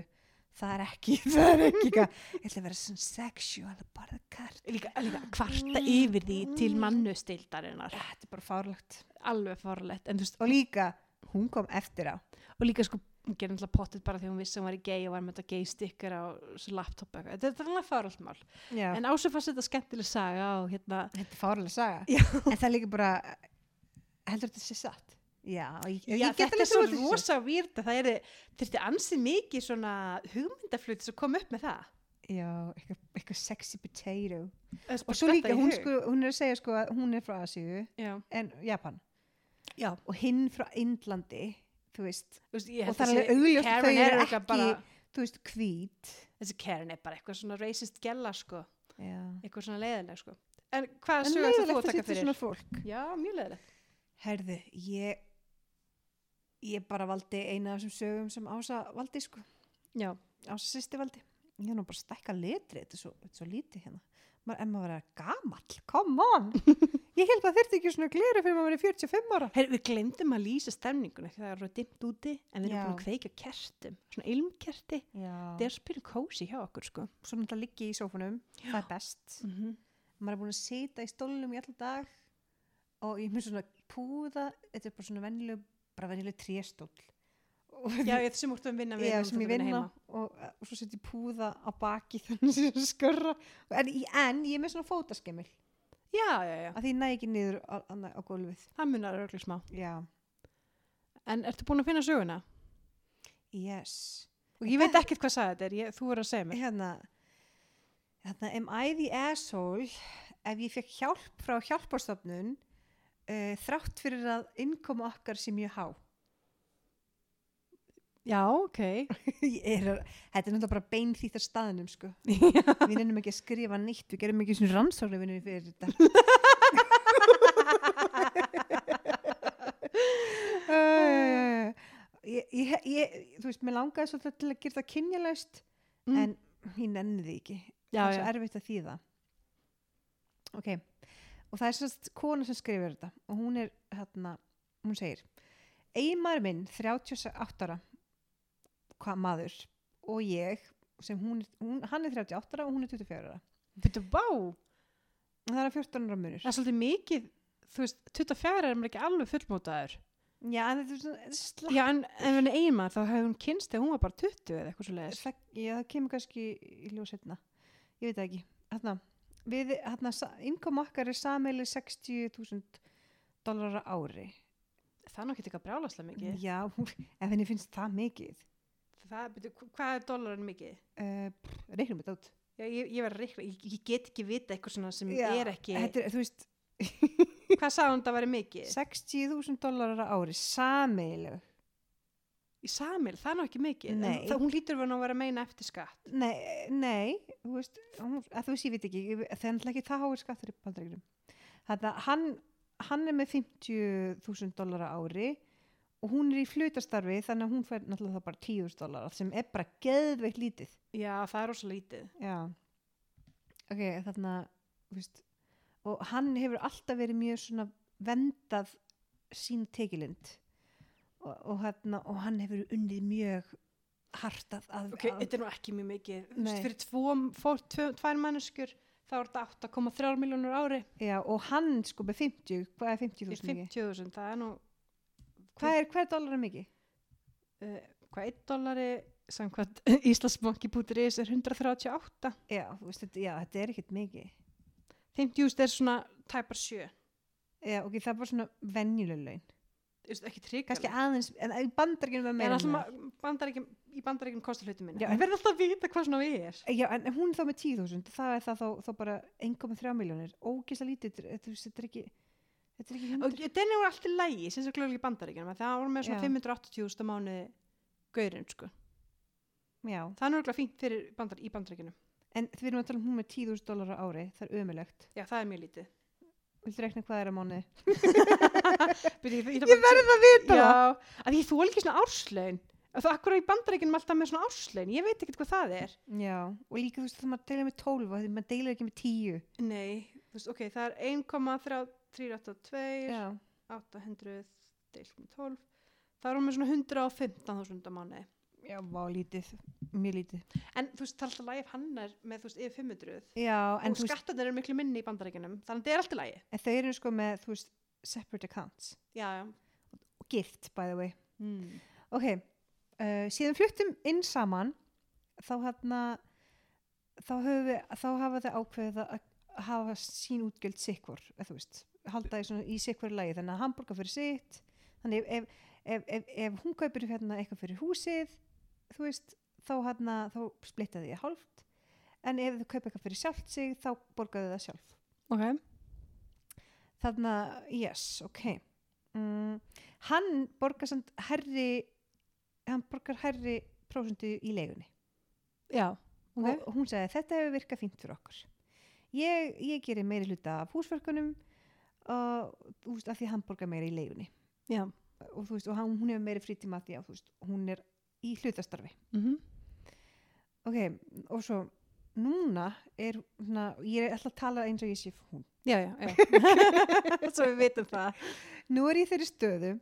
B: það er ekki, það er ekki eitthvað, ég ætla að vera svona sexual að borða kart
A: líka, líka kvarta yfir því til mannustildarinnar
B: þetta er bara fárlegt
A: alveg farlegt en þú veist,
B: og líka, hún kom eftir á
A: og líka sko hún gerði alltaf pottit bara því hún vissi að hún var í gay og var með þetta gay sticker á svo laptop eitthvað. þetta þetta er alveg farlegt mál
B: Já.
A: en ásöf fannst þetta skemmtileg saga og hérna
B: þetta er fárlega saga
A: Já.
B: en það er líka bara, heldur þetta sé satt já, og ég,
A: Já,
B: ég get
A: þetta
B: alveg
A: er svo
B: trúað þessu.
A: rosa výrt að það er, þurfti ansið mikið svona hugmyndafluti sem kom upp með það.
B: já, eitthvað, eitthvað sexy potato
A: Það er bara
B: og svo
A: datt
B: líka,
A: það í
B: hún,
A: hug.
B: sko, hún er að segja sko að hún er frá Asíu
A: Já,
B: en Japan
A: já.
B: og hinn frá Indlandi þú veist,
A: Þú Veist, ég
B: Og
A: held
B: það
A: að
B: er alveg
A: sé-
B: augljóst að
A: Karen er örugglega
B: þau eru ekki-
A: bara-
B: þú veist, hvít
A: Þessi Karen er bara eitthvað svona racist gella, sko.
B: já.
A: Eitthvað svona leiðileg, sko. En hvað
B: en
A: sögur ætlar þú
B: leiðilegt
A: að
B: að
A: taka
B: setja
A: fyrir?
B: svona fólk
A: Já, mjög leiðilegt.
B: herðu, ég ég bara valdi eina af þessum sögum sem Ása valdi sko
A: Já,
B: Ása sýsti valdi ég er nú bara að stækka letri, þetta er svo, þetta er svo lítið hérna maður, en maður er gamall, come on ég held að þetta ekki svona gleru fyrir maður er 45 ára
A: Her, við glemdum að lýsa stemningunni því það er dimmt úti en við erum
B: Já.
A: búin að kveika kertum, svona ilmkerti það
B: já.
A: er svo pyrrjum kósi hjá okkur sko
B: svo náttúrulega liggi í sófunum, það er best
A: mm -hmm.
B: maður er búin að sita í stólnum í allan dag og ég mun svona púða þetta er bara svona venjuleg bara venjuleg tréstól og
A: Já, ég þessum úrtum vinna við
B: Já,
A: þú
B: sem
A: ert að
B: ég
A: vinna
B: vinna
A: heima.
B: og, eh, og svo setjum púða á baki þannig sem ég skörra en, í- en ég er með svona fótaskemmil
A: Já, já, já,
B: að því ég næ ekki niður á, á, á gólfið
A: það munar örglega smá
B: Já,
A: En ertu búin að finna söguna?
B: yes
A: Og ég veit ekkert hvað sagði þetta er, ég, þú voru að segja mér
B: Hérna Hérna, am I the asshole ef ég fekk hjálp frá hjálparstofnun uh, þrátt fyrir að innkoma okkar sé mjög há
A: Já, ok
B: Ég er, að- Þetta er náttúrulega bara beinþýtt af staðnum sko.
A: Já.
B: Við nefnum ekki að skrifa nýtt, við gerum ekki svona rannsóknarvinnur fyrir þetta. uh, ég, ég, ég, þú veist, mér langaði svolítið til að gera það kynjalaust,
A: Mm.
B: en ég nenni því ekki.
A: Já,
B: það er
A: já,
B: svo erfitt að þýða. Ok, og það er sérst kona sem skrifur þetta og hún er hérna, hún segir Eimar minn, 38 ára hvað maður og ég, sem hún, hún hann er 38 ára og hún er 24 ára
A: byrju, vá
B: og það er 14 ára munur
A: Það er svolítið mikið, þú veist, 24 er maður ekki alveg fullmótaður
B: Já, en þetta er svona þetta er slapp
A: Já, en, en henni eigin maður, þá hefði hún kynst þegar hún var bara 20 eða eitthvað svo leiðis
B: það, Já, það kemur kannski í ljós hérna ég veit það ekki hérna, við, hérna, innkom okkar er sameili 60.000 dólarar á ári
A: Það er nú ekki eitthvað brjálaslega mikið
B: Já, ef henni finnst það mikið
A: Það, byrju, hvað er dólarinn mikið?
B: uh, reiknum þetta út
A: Já, ég, ég verður reikna, ég, ég get ekki vita eitthvað svona sem er ekki,
B: þetta er, þú veist,
A: hvað sagði hún það væri mikið?
B: 60.000 dólarar á ári sameiginlegu
A: Í samil, það er nú ekki mikið, en
B: Nei.
A: það, hún lítur verið að vera að meina eftir skatt.
B: nei, nei, þú veist hún, að þú veist, ég veit ekki, ég- það er náttúrulega ekki það háir skattur í bandaríkjum þannig að hann, hann er með 50.000 dólarar á ári og hún er í flutastarfi þannig að hún fær náttúrulega það bara 10.000 dólarar sem er bara geðveitt lítið
A: Já, það er rosa lítið.
B: Já. Ok, þarna, þú veist, og hann hefur alltaf verið mjög svona vendað sín tekilind og, og, þarna, og hann hefur unnið mjög hartað að,
A: Ok, þetta er nú ekki mjög mikið. Þú veist,
B: Nei.
A: fyrir tvo, fór, tvo, tvær manneskjur, þá er þetta 8,3 miljónur ári.
B: já, og hann sko með 50, hvað er
A: Í
B: 50.000 mikið?
A: 50.000, það er nú,
B: Hvað er, hvað er dólarar mikið?
A: uh, hvað 1 dollari, samkvæmt Íslandsbanki.is er 138.
B: Já, þú veist, þetta, já, þetta er ekkert mikið.
A: 50.000 er svona tæpar sjö
B: Já, ok, það er bara svona venjuleg laun.
A: Þú veist, ekki trygg
B: Kannski aðeins, en í bandaríkjunum var meira.
A: en alltaf
B: en
A: ma- bandaríkjum, í bandaríkjum kostar hlutum minna
B: Já,
A: ég verð alltaf að vita hvað svona við er
B: það. Já, en hún er þá með 10.000, það er það þá, þá bara 1,3 miljónir. Ógisla lítið, þetta- þú veist, þetta er ekki, þetta er ekki 100.
A: og denni voru alltaf lægi, sem svo glöðlega í bandaríkjum það voru með svona
B: Já.
A: 580.000 á mánuði gaurinn sko,
B: Já,
A: það er náttúrulega fínt fyrir bandar, í bandaríkjunum,
B: en við erum að tala um hún með 10.000 dólar á ári, það er ömulegt.
A: já það er mjög lítið
B: Viltu rekna hvað það er á mánuði?
A: Byrju, ég,
B: Ég verð að vita það.
A: Já, að ég þól ekki svona árslaun Að Það akkur í bandaríkjunum alltaf með svona árslaun Ég veit ekkert hvað það er
B: Já, og líka þú veist, það maður deilir með 12 og maður deilir ekki með 10.
A: Nei, þú veist, ok, það er 1,382
B: Já,
A: 800 deilt með 12 Það er hún með svona 115.000 á mánuði
B: já, vá, lítið, mjög lítið.
A: En þú veist, það er alltaf lægi ef hann er með, þú veist, yfir 500
B: Já, en,
A: Og
B: þú veist,
A: skattarnir eru miklu minni í bandaríkjunum Þannig að það er alltaf lægi
B: en þau eru sko með, þú veist, separate accounts.
A: Já, já
B: Gift, by the way.
A: mm.
B: Ok, uh, síðan fluttum inn saman þá hérna þá, höfum við, þá hafa þau ákveðið að að hafa sín útgjöld sikkur, eða þú veist, halda því svona í sikkur lagi, þannig að hamburga fyrir sitt þannig ef, ef, ef, ef, ef hún kaupir hérna eitthvað fyrir húsið þú veist, þá hérna þá splitta því hálft en ef þau kaupa eitthvað fyrir sjálft sig, þá borgaðu það sjálf
A: Ok
B: þarna, yes, ok mm, hann borgar samt herri hann borgar herri prósundu í leigunni
A: Já, ok
B: og hún sagði þetta hefur virkað fínt fyrir okkur ég, ég gerir meiri hluta af húsverkunum og þú veist, af því að hann borgar meira í leigunni
A: Já
B: og þú veist, og hann, hún hefur meiri frítíma af því að þú veist, hún er í hlutastarfi
A: mm -hmm.
B: ok, og svo núna er, svona, ég er alltaf að tala eins og ég sé hún
A: Já, já, já Svo við vitum það
B: nú er ég í þeirri stöðu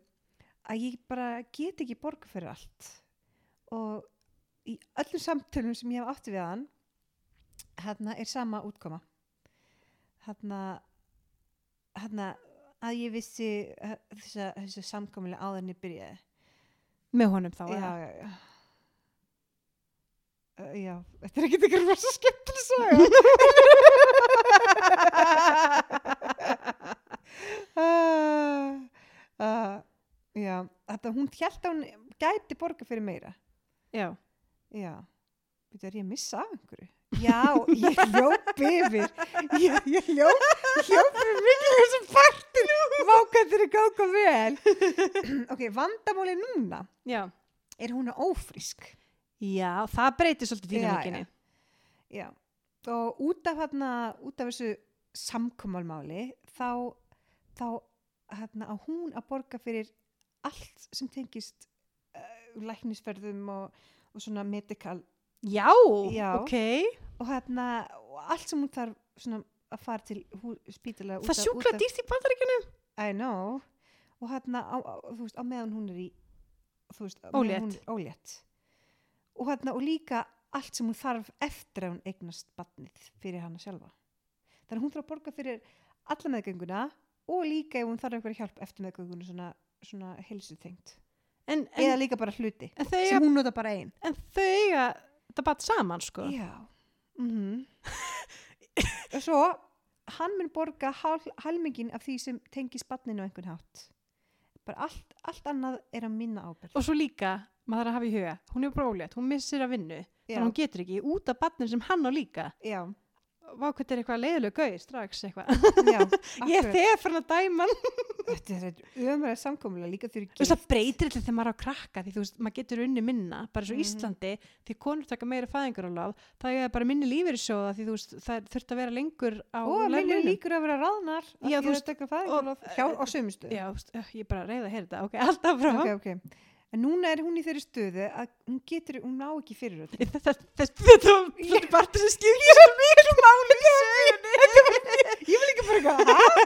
B: að ég bara get ekki borga fyrir allt og í öllum samtölum sem ég hef átti við hann hérna er sama útkoma hérna hérna að ég vissi eh, þessa, þessa samkomulega áður en ég byrjaði
A: Með honum þá
B: já, já, já. Uh, já, þetta er ekkert eitthvað rosa skemmtileg saga. uh, uh, já, þetta hún held að hún gæti borga fyrir meira.
A: já.
B: Já, veitu, er ég að missa af einhverju? Já, ég hljóp yfir. Ég, ég hljóp, hljóp yfir mikið þessu partinu. Vákandur er gáka vel. ok, vandamálið núna
A: já.
B: er hún er ófrísk.
A: Já, það breytir svolítið
B: Já,
A: dýnamíkinni.
B: Já, og út af, hérna, út af þessu samkomalmáli þá, þá hérna, á hún að borga fyrir allt sem tengist uh, læknisferðum og, og svona medical
A: Já,
B: Já.
A: ok.
B: og, hérna, og allt sem hún þarf svona að fara til hú- spítala út
A: Það
B: af-
A: sjúkla
B: út af-
A: dýrt í bandaríkjunum.
B: I know og hérna á, á, þú veist, á meðan hún er í þú veist, á meðan
A: Ólétt.
B: hún er ólétt og hérna og líka allt sem hún þarf eftir að hún eignast batnið fyrir hana sjálfa þannig að hún þarf að borga fyrir alla meðgönguna og líka ef hún þarf einhverja hjálp eftir meðgönguna svona, svona helsutengt
A: En, en,
B: eða líka bara hluti
A: en þau
B: sem hún nota bara ein
A: en þau eiga þetta bara saman, sko.
B: já mm og svo hann mun borga hal, halmingin af því sem tengis batninu á einhvern hátt bara allt, allt annað er að minna ábyrgð
A: Og svo líka, maður þarf að hafa í huga, hún er bróðlegt, hún missir að vinnu.
B: já,
A: Þannig hún getur ekki út af batnum sem hann á líka.
B: já,
A: Vá, hvað þetta er eitthvað leiðilega gauð strax eitthvað.
B: já
A: Ég er
B: akkurat.
A: þegar fyrir að dæma hann.
B: þetta er umræða samkomulega líka þurfi
A: Þú veist, það breytir alltaf þegar maður er á krakka því þú veist, maður getur unni minna, bara svo mm
B: Mhm.
A: Íslandi því konur taka meira fæðingaráláð, það er bara minni lífeyrissjóða því þú veist, það þurft að vera lengur á
B: og minni
A: launum.
B: líkur að vera ráðnar af
A: Já,
B: því
A: þú
B: að
A: veist,
B: þetta ekki fæðingarlof hjá á sömu stöðu
A: Já, þú veist, öh, ég er bara reyð að heyra þetta, ok, alltaf frá.
B: ok, ok en núna er hún í þeirri stöðu að hún getur, hún ná ekki fyrir þetta
A: Þess- þess- þess- Þetta var- þetta er bara sem skiptir svo miklu máli í sögunni.
B: ég vil ekki bara eitthvað, hæ?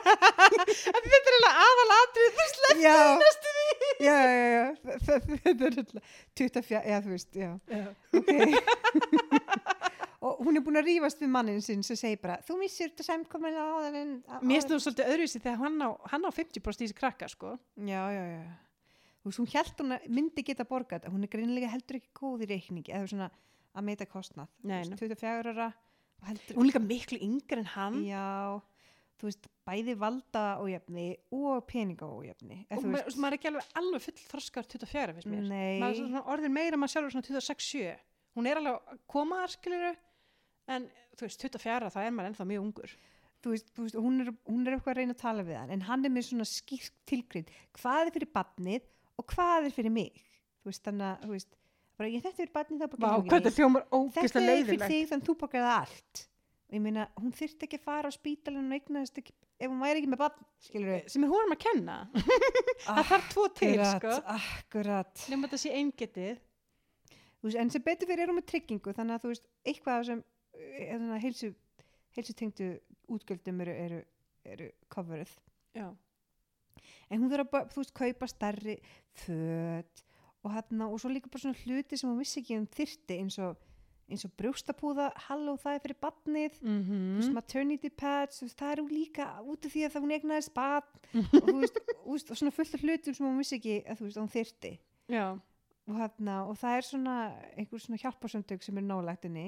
A: Af því Þetta er eiginlega aðalatrið, þú sleppir
B: já,
A: næstu því.
B: já, já, já þetta þetta er alltaf 24, já, þú veist, já ok og hún er búin að rífast við mannin sinn sem segir bara, þú missir þetta samkomulega áður en
A: Mér
B: áður-
A: finnst þú svolítið öðruvísi þegar hann á, hann á 50% í þessi krakka, sko.
B: já, já, já þú veist, hún held hún að myndi geta borgað þetta, hún er greinlega heldur ekki góð í reikningi eða svona að meita kostnað
A: Nei,
B: Þú veist, 24 ára og heldur
A: Hún er líka miklu yngri en hann.
B: já, þú veist, bæði valda ójöfni og peninga ójöfni
A: og ma veist, maður er ekki alveg, alveg full þroskar 24 finnst mér
B: nei,
A: maður er svona orðin meira maður sjálfur svona 26-7 hún er alveg að koma að skiluru en þú veist 24 þá er maður ennþá mjög ungur
B: þú veist, þú veist, og hún er, hún er eitthvað að reyna að tala við hann en hann er með svona skýrt tilgrind hvað er fyrir barnið og hvað er fyrir mig þú veist, þannig að þú veist, bara, ég þetta er fyrir barnið þá borgar þú ekki neitt.
A: hljómar
B: þetta er fyrir þig þannig að þú borgar það allt og ég meina, hún þyrfti ekki að fara á spítalinn og eignaðist ekki, ef hún væri ekki með barn skilur við
A: sem er honum að kenna
B: Ah,
A: það þarf tvo til sko
B: akkurat
A: nema þetta sé eingetið
B: Þú veist, en sem betur fyrir erum við tryggingu þannig að þú veist, eitthvað af sem eða, heilsu, heilsu tengdu útgjöldum eru, eru, eru coveruð
A: já,
B: en hún þurfa bara, þú veist, kaupa stærri föt og hérna og svo líka bara svona hluti sem hún vissi ekki um þyrti eins og, eins og brjóstapúða halló það er fyrir badnið
A: mm
B: mm. maternity pads, þú veist, það er hún líka út af því að það hún egnaðist badn og þú veist, og, þú veist, og svona fullt af hlutum sem hún vissi ekki að þú veist, að hún þyrti
A: já,
B: og, hana, og það er svona einhver svona hjálparsöndug sem er nálægtinni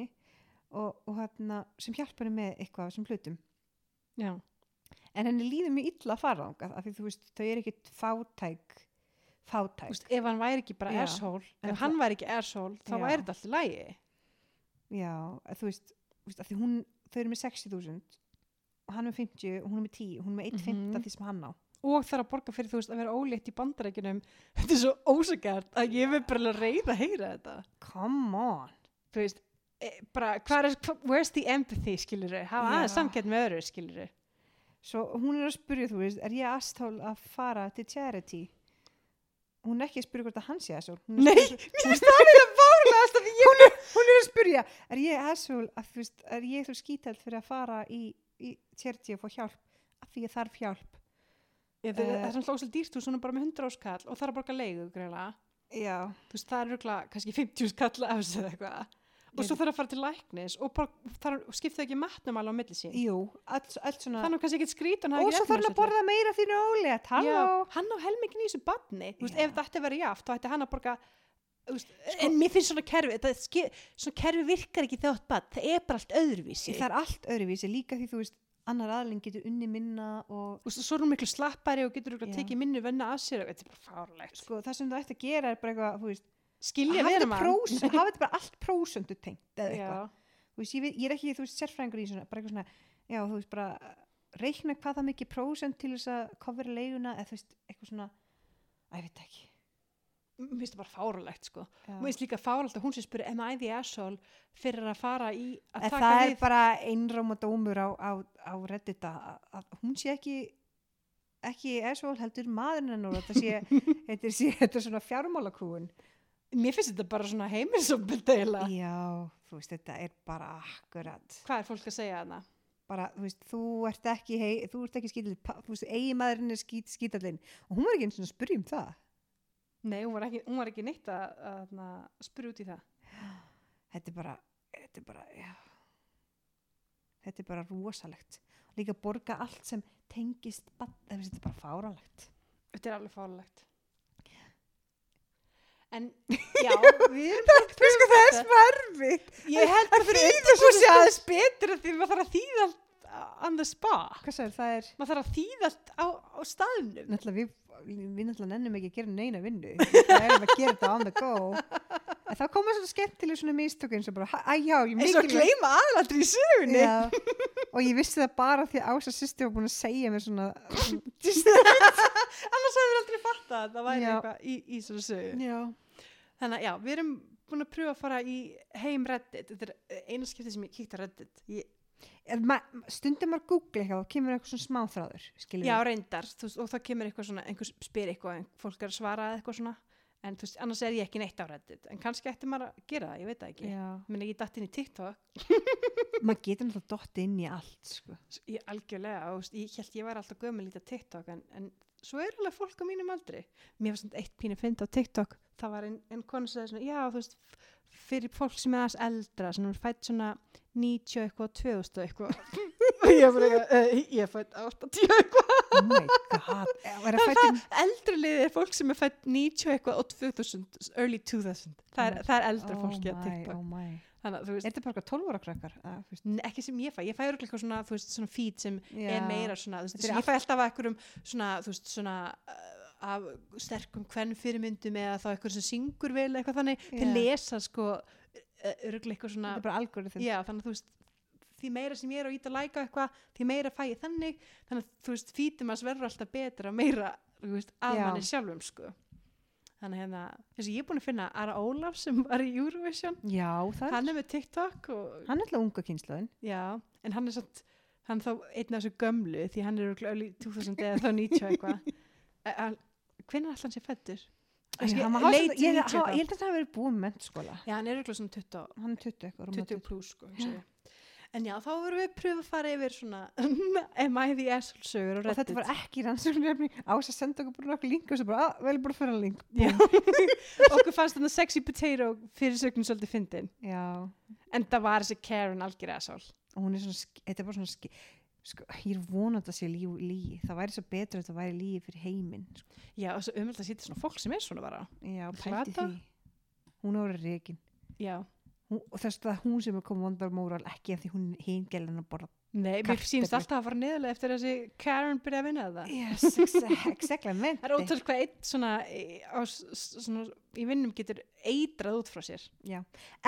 B: og, og hana, sem hjálpar henni með eitthvað sem hlutum
A: já
B: en henni líður mjög illa að fara þangað af því þú veist, þau eru ekkit fátæk
A: Þú
B: fátæk
A: veist, ef hann væri ekki bara
B: Já.
A: asshole
B: En
A: ef
B: það-
A: hann væri ekki asshole þá
B: Já.
A: væri þetta alltaf lægi
B: já, að þú veist, þú veist af því hún, þau eru með 60.000 og hann er með 50 og hún er með 10 hún er með 1.50 mm
A: Mhm.
B: því sem hann á
A: og þarf að borga fyrir þú veist að vera ólétt í bandarækjunum þetta er svo ósakært að ég verð bara alveg reið að heyra þetta
B: come on
A: þú veist, e, bara hvað er hva, where's the empathy skilur hafa
B: Já.
A: aðeins samkett með öðru skilur
B: svo hún er að spyrja, þú veist, er ég asthól að fara til charity hún er ekki að spyrja hvort að hann sé asshól hún er að
A: Nei,
B: spyrja-
A: mér finnst það er það bárlegast að ég hún er
B: hún er að spyrja, er ég asshól að þú veist, er ég þú skítælt fyrir að fara í, í charity og fá hjálp af því ég þarf hjálp
A: ég, það,
B: Eh.
A: það er svona óslega dýrt hús, hún er bara með 100 áskall og þarf að borga leigu greinlega
B: já,
A: þú veist, það er röglega kannski 50 skall af þessu eða eitthvað og svo þarf að fara til læknis og, bara, þarf, og skipta ekki matnum alveg á milli sín
B: jú, allt, allt svona
A: þannig að kannski ekkert skrítun
B: og svo þarf hann að borða meira þínu ólétt, halló
A: hann á helmingin í þessu badni þú veist,
B: Já. Sko-
A: ef þetta ætti að vera jaft þá ætti hann að borga þú veist, en mér finnst svona kerfi það, ske, svona kerfi virkar ekki þegar þú átt badn það er bara allt öðruvísi
B: það er allt öðruvísi, líka því þú veist annar aðling getur unni minna og
A: og svo er hún miklu slappari og getur að
B: Já.
A: tekið minni venna að sér og þetta er bara fárlegt
B: sko, það sem þú ætti að gera er bara eitthvað þú veist,
A: skilja
B: hafa
A: vera
B: þetta
A: mann
B: prósent- hafa þetta bara allt prósundu tengt eða eitthvað,
A: Já.
B: þú veist, ég, veit- ég er ekki þú veist sérfræðingur í svona, bara eitthvað svona já, þú veist, bara reikna hvað það mikið prósent til þess að kofra leiguna eða þú veist, eitthvað svona, að ég veit ekki
A: mér finnst það bara fárlegt sko
B: Já.
A: mér finnst líka fárlegt að hún sem spyrir am I the asshole fyrir að fara í að
B: En
A: taka
B: það er
A: við
B: bara einráma dómur á, á, á reddita að hún sé ekki ekki esvól heldur maðurinn hennar og þetta sé, þetta sé þetta er svona fjármálakúun
A: mér finnst þetta bara svona heimilisopildegila
B: já, þú veist, þetta er bara akkurat
A: hvað er fólk að segja þarna
B: bara, þú veist, þú ert ekki hei, þú ert ekki skítallinn, pa- þú veist, eigi maðurinn er skít, skítallinn og hún var ekki eins og spyrja um það
A: nei, hún var ekki, hún var ekki neitt að, að, að spyrja út í það
B: þetta er bara, þetta er bara já. þetta er bara rosalegt líka borga allt sem tengist barn- þú veist, þetta er bara fáralegt
A: Þetta er alveg fárlegt. En, já, við erum
B: Þú sko það er smá erfitt
A: ég held að fyrir
B: þýðir svo
A: sé aðeins betur af því maður þarf að þýða allt on the spot.
B: Hvað sagði það er
A: Maður þarf að þýða allt á, á staðnum.
B: Náttúrulega við, við náttúrulega nennum ekki að gera neina vinnu Það erum að gera þetta on the go En þá koma svona skemmtileg svona mistök eins og bara, "Hæ, æ já, ég
A: Eins og að
B: mikilvægt-
A: gleyma aðalatri í sögunni.
B: Já. Og ég vissi það bara því að Ása sýsti var búin að segja mér svona
A: Annars hefur aldrei fattað að það væri
B: Já.
A: eitthvað í, í svona sögu.
B: Já,
A: Þannig að, já, við erum búin að pröfa að fara í heim Reddit. Þetta er eh, eina skipti sem ég kíkti að Reddit. Ég,
B: ma, stundum maður googla eitthvað og kemur eitthvað svona smáþráður skilur
A: Já,
B: við.
A: reyndar, þú veist, og þá kemur eitthvað svona, einhver spyr eitthvað, en fólk er að svara eða eitthvað svona, en þú veist, annars er ég ekki neitt á reddit, en kannski ætti maður að gera það, ég veit það ekki.
B: já.
A: Ég meina, ég datt inn í TikTok,
B: Maður getur náttúrulega dott inn í allt sko.
A: s- ég algjörlega, og þú veist, ég held ég væri alltaf gömul lítið TikTok, en, en svo er alveg fólk á mínum aldri. Mér var svona eitt pínu fynd á TikTok, það var einn ein konu sem sagði svona, já, þú veist, f- fyrir fólk sem er aðeins eldra, sem er fætt svona 90 og eitthvað, 2000 og eitthvað, og ég er bara eitthvað, eh, ég er fætt 80 eitthvað
B: oh my god og er að fæta um
A: eldri liðið er fólk sem er fætt 90 eitthvað og 2000, early 2000 það er, það er eldra fólki að
B: oh
A: TikTok
B: my.
A: þannig að þú
B: er
A: veist,
B: þetta bara eitthvað 12 ára krakkar að, þú veist,
A: n- ekki sem ég fæ ég fæ örugglega eitthvað svona, þú veist, svona feed sem
B: já.
A: er meira svona, þú veist,
B: Þetta er
A: ég fæ alltaf að einhverjum svona, þú veist, svona uh, af sterkum hvern fyrirmyndum eða þá eitthvað sem syngur vel eitthvað þannig
B: Já.
A: þeir lesa sko örglega eitthvað svona
B: þetta er bara algoritm
A: já, þannig að þú veist því meira sem ég er að íta að læka eitthvað því meira fæ ég þannig þannig að þú veist, fítum að verður alltaf betra meira, þú veist, að
B: Já.
A: manni sjálfum sko þannig að hérna, þess að ég er búin að finna Ara Ólaf sem var í Eurovision
B: já það
A: hann er með TikTok og,
B: hann er alltaf unga kynslaðin
A: já, en hann er satt hann er þá einn af þessu gömlu því hann er örugglega early 2000 eða þá 90 eitthvað Eh, hann- hvenær alltaf hann sé fættur? Kannski
B: ég held
A: late
B: að
A: 90
B: ég- há-
A: eitthvað.
B: ég held að það hafi verið búið með mentskóla
A: já, hann er örugglega svona 20 og-
B: hann er 20 eitthvað rúmlega
A: 20 pluss sko, hugsa ég. en já, þá vorum við að pröfa að fara yfir svona am I the asshole sögur og
B: og þetta
A: reddit
B: var ekki rannsóknarefni á þess að senda okkur bara nokkuð link og svo bara, að, vel bara fyrir að link
A: Já. okkur fannst þannig sexy potato fyrir sögnum svolítið fyndin
B: já,
A: en það var þessi Karen algjör asshole
B: og hún er svona sk- þetta er bara svona ski, sko, ég er vonandi að sé líf og líi það væri svo betur að þetta væri líi fyrir heiminn sko.
A: já, og svo umhald að sýta svona fólk sem er svona bara
B: já, pælti
A: Plata?
B: því hún er orðið reikin
A: já,
B: hún, og þess að hún sem er komið vondar móral ekki af því hún hinn gælin að borða
A: nei, mér
B: Kartöflur.
A: sínst alltaf að fara niðurlega eftir þessi Karen byrja að vinna það
B: yes, exactly
A: það er ótrúlega hvað eitt svona, í- á, s- s- svona í vinnum getur eitrað út frá sér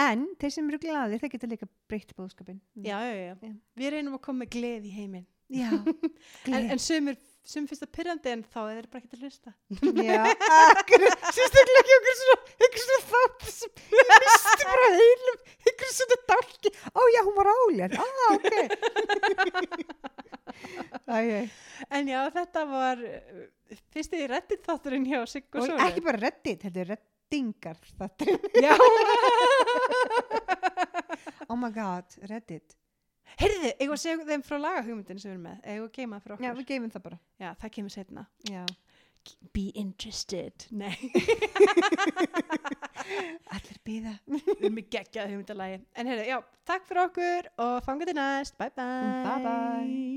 B: en þeir sem eru glaðir það geta líka breytt bóðskapin
A: já, já, já,
B: Já.
A: við reynum að koma með gleð í heiminn
B: já,
A: en,
B: gleði.
A: en sumir, sum finnst það pyrrandi en þá er þeir bara ekki að hlusta
B: Já, sérstaklega ekki okkur svona einhver svona þátt sem ég misti bara heilum einhver svona dálki, ó já hún var álétt á ok Æ, æ.
A: En já, þetta var uh, fyrsti reddit þátturinn hjá Sigg og
B: og
A: Sólu.
B: ekki bara reddit, þetta er reddingar þetta er,
A: Já.
B: oh my god, reddit
A: Heyrðu, eigum að segja þeim frá lagahugmyndin sem við erum með. Eigum að geima það frá
B: já,
A: okkur.
B: við geymum það bara
A: Já, það kemur setna.
B: já.
A: Be interested. Nei,
B: allir býða,
A: við erum með
B: Mm,
A: geggjað hugmyndalagi. En heyrðu, já, takk fyrir okkur og fangað til næst. Bye bye.
B: Bye bye.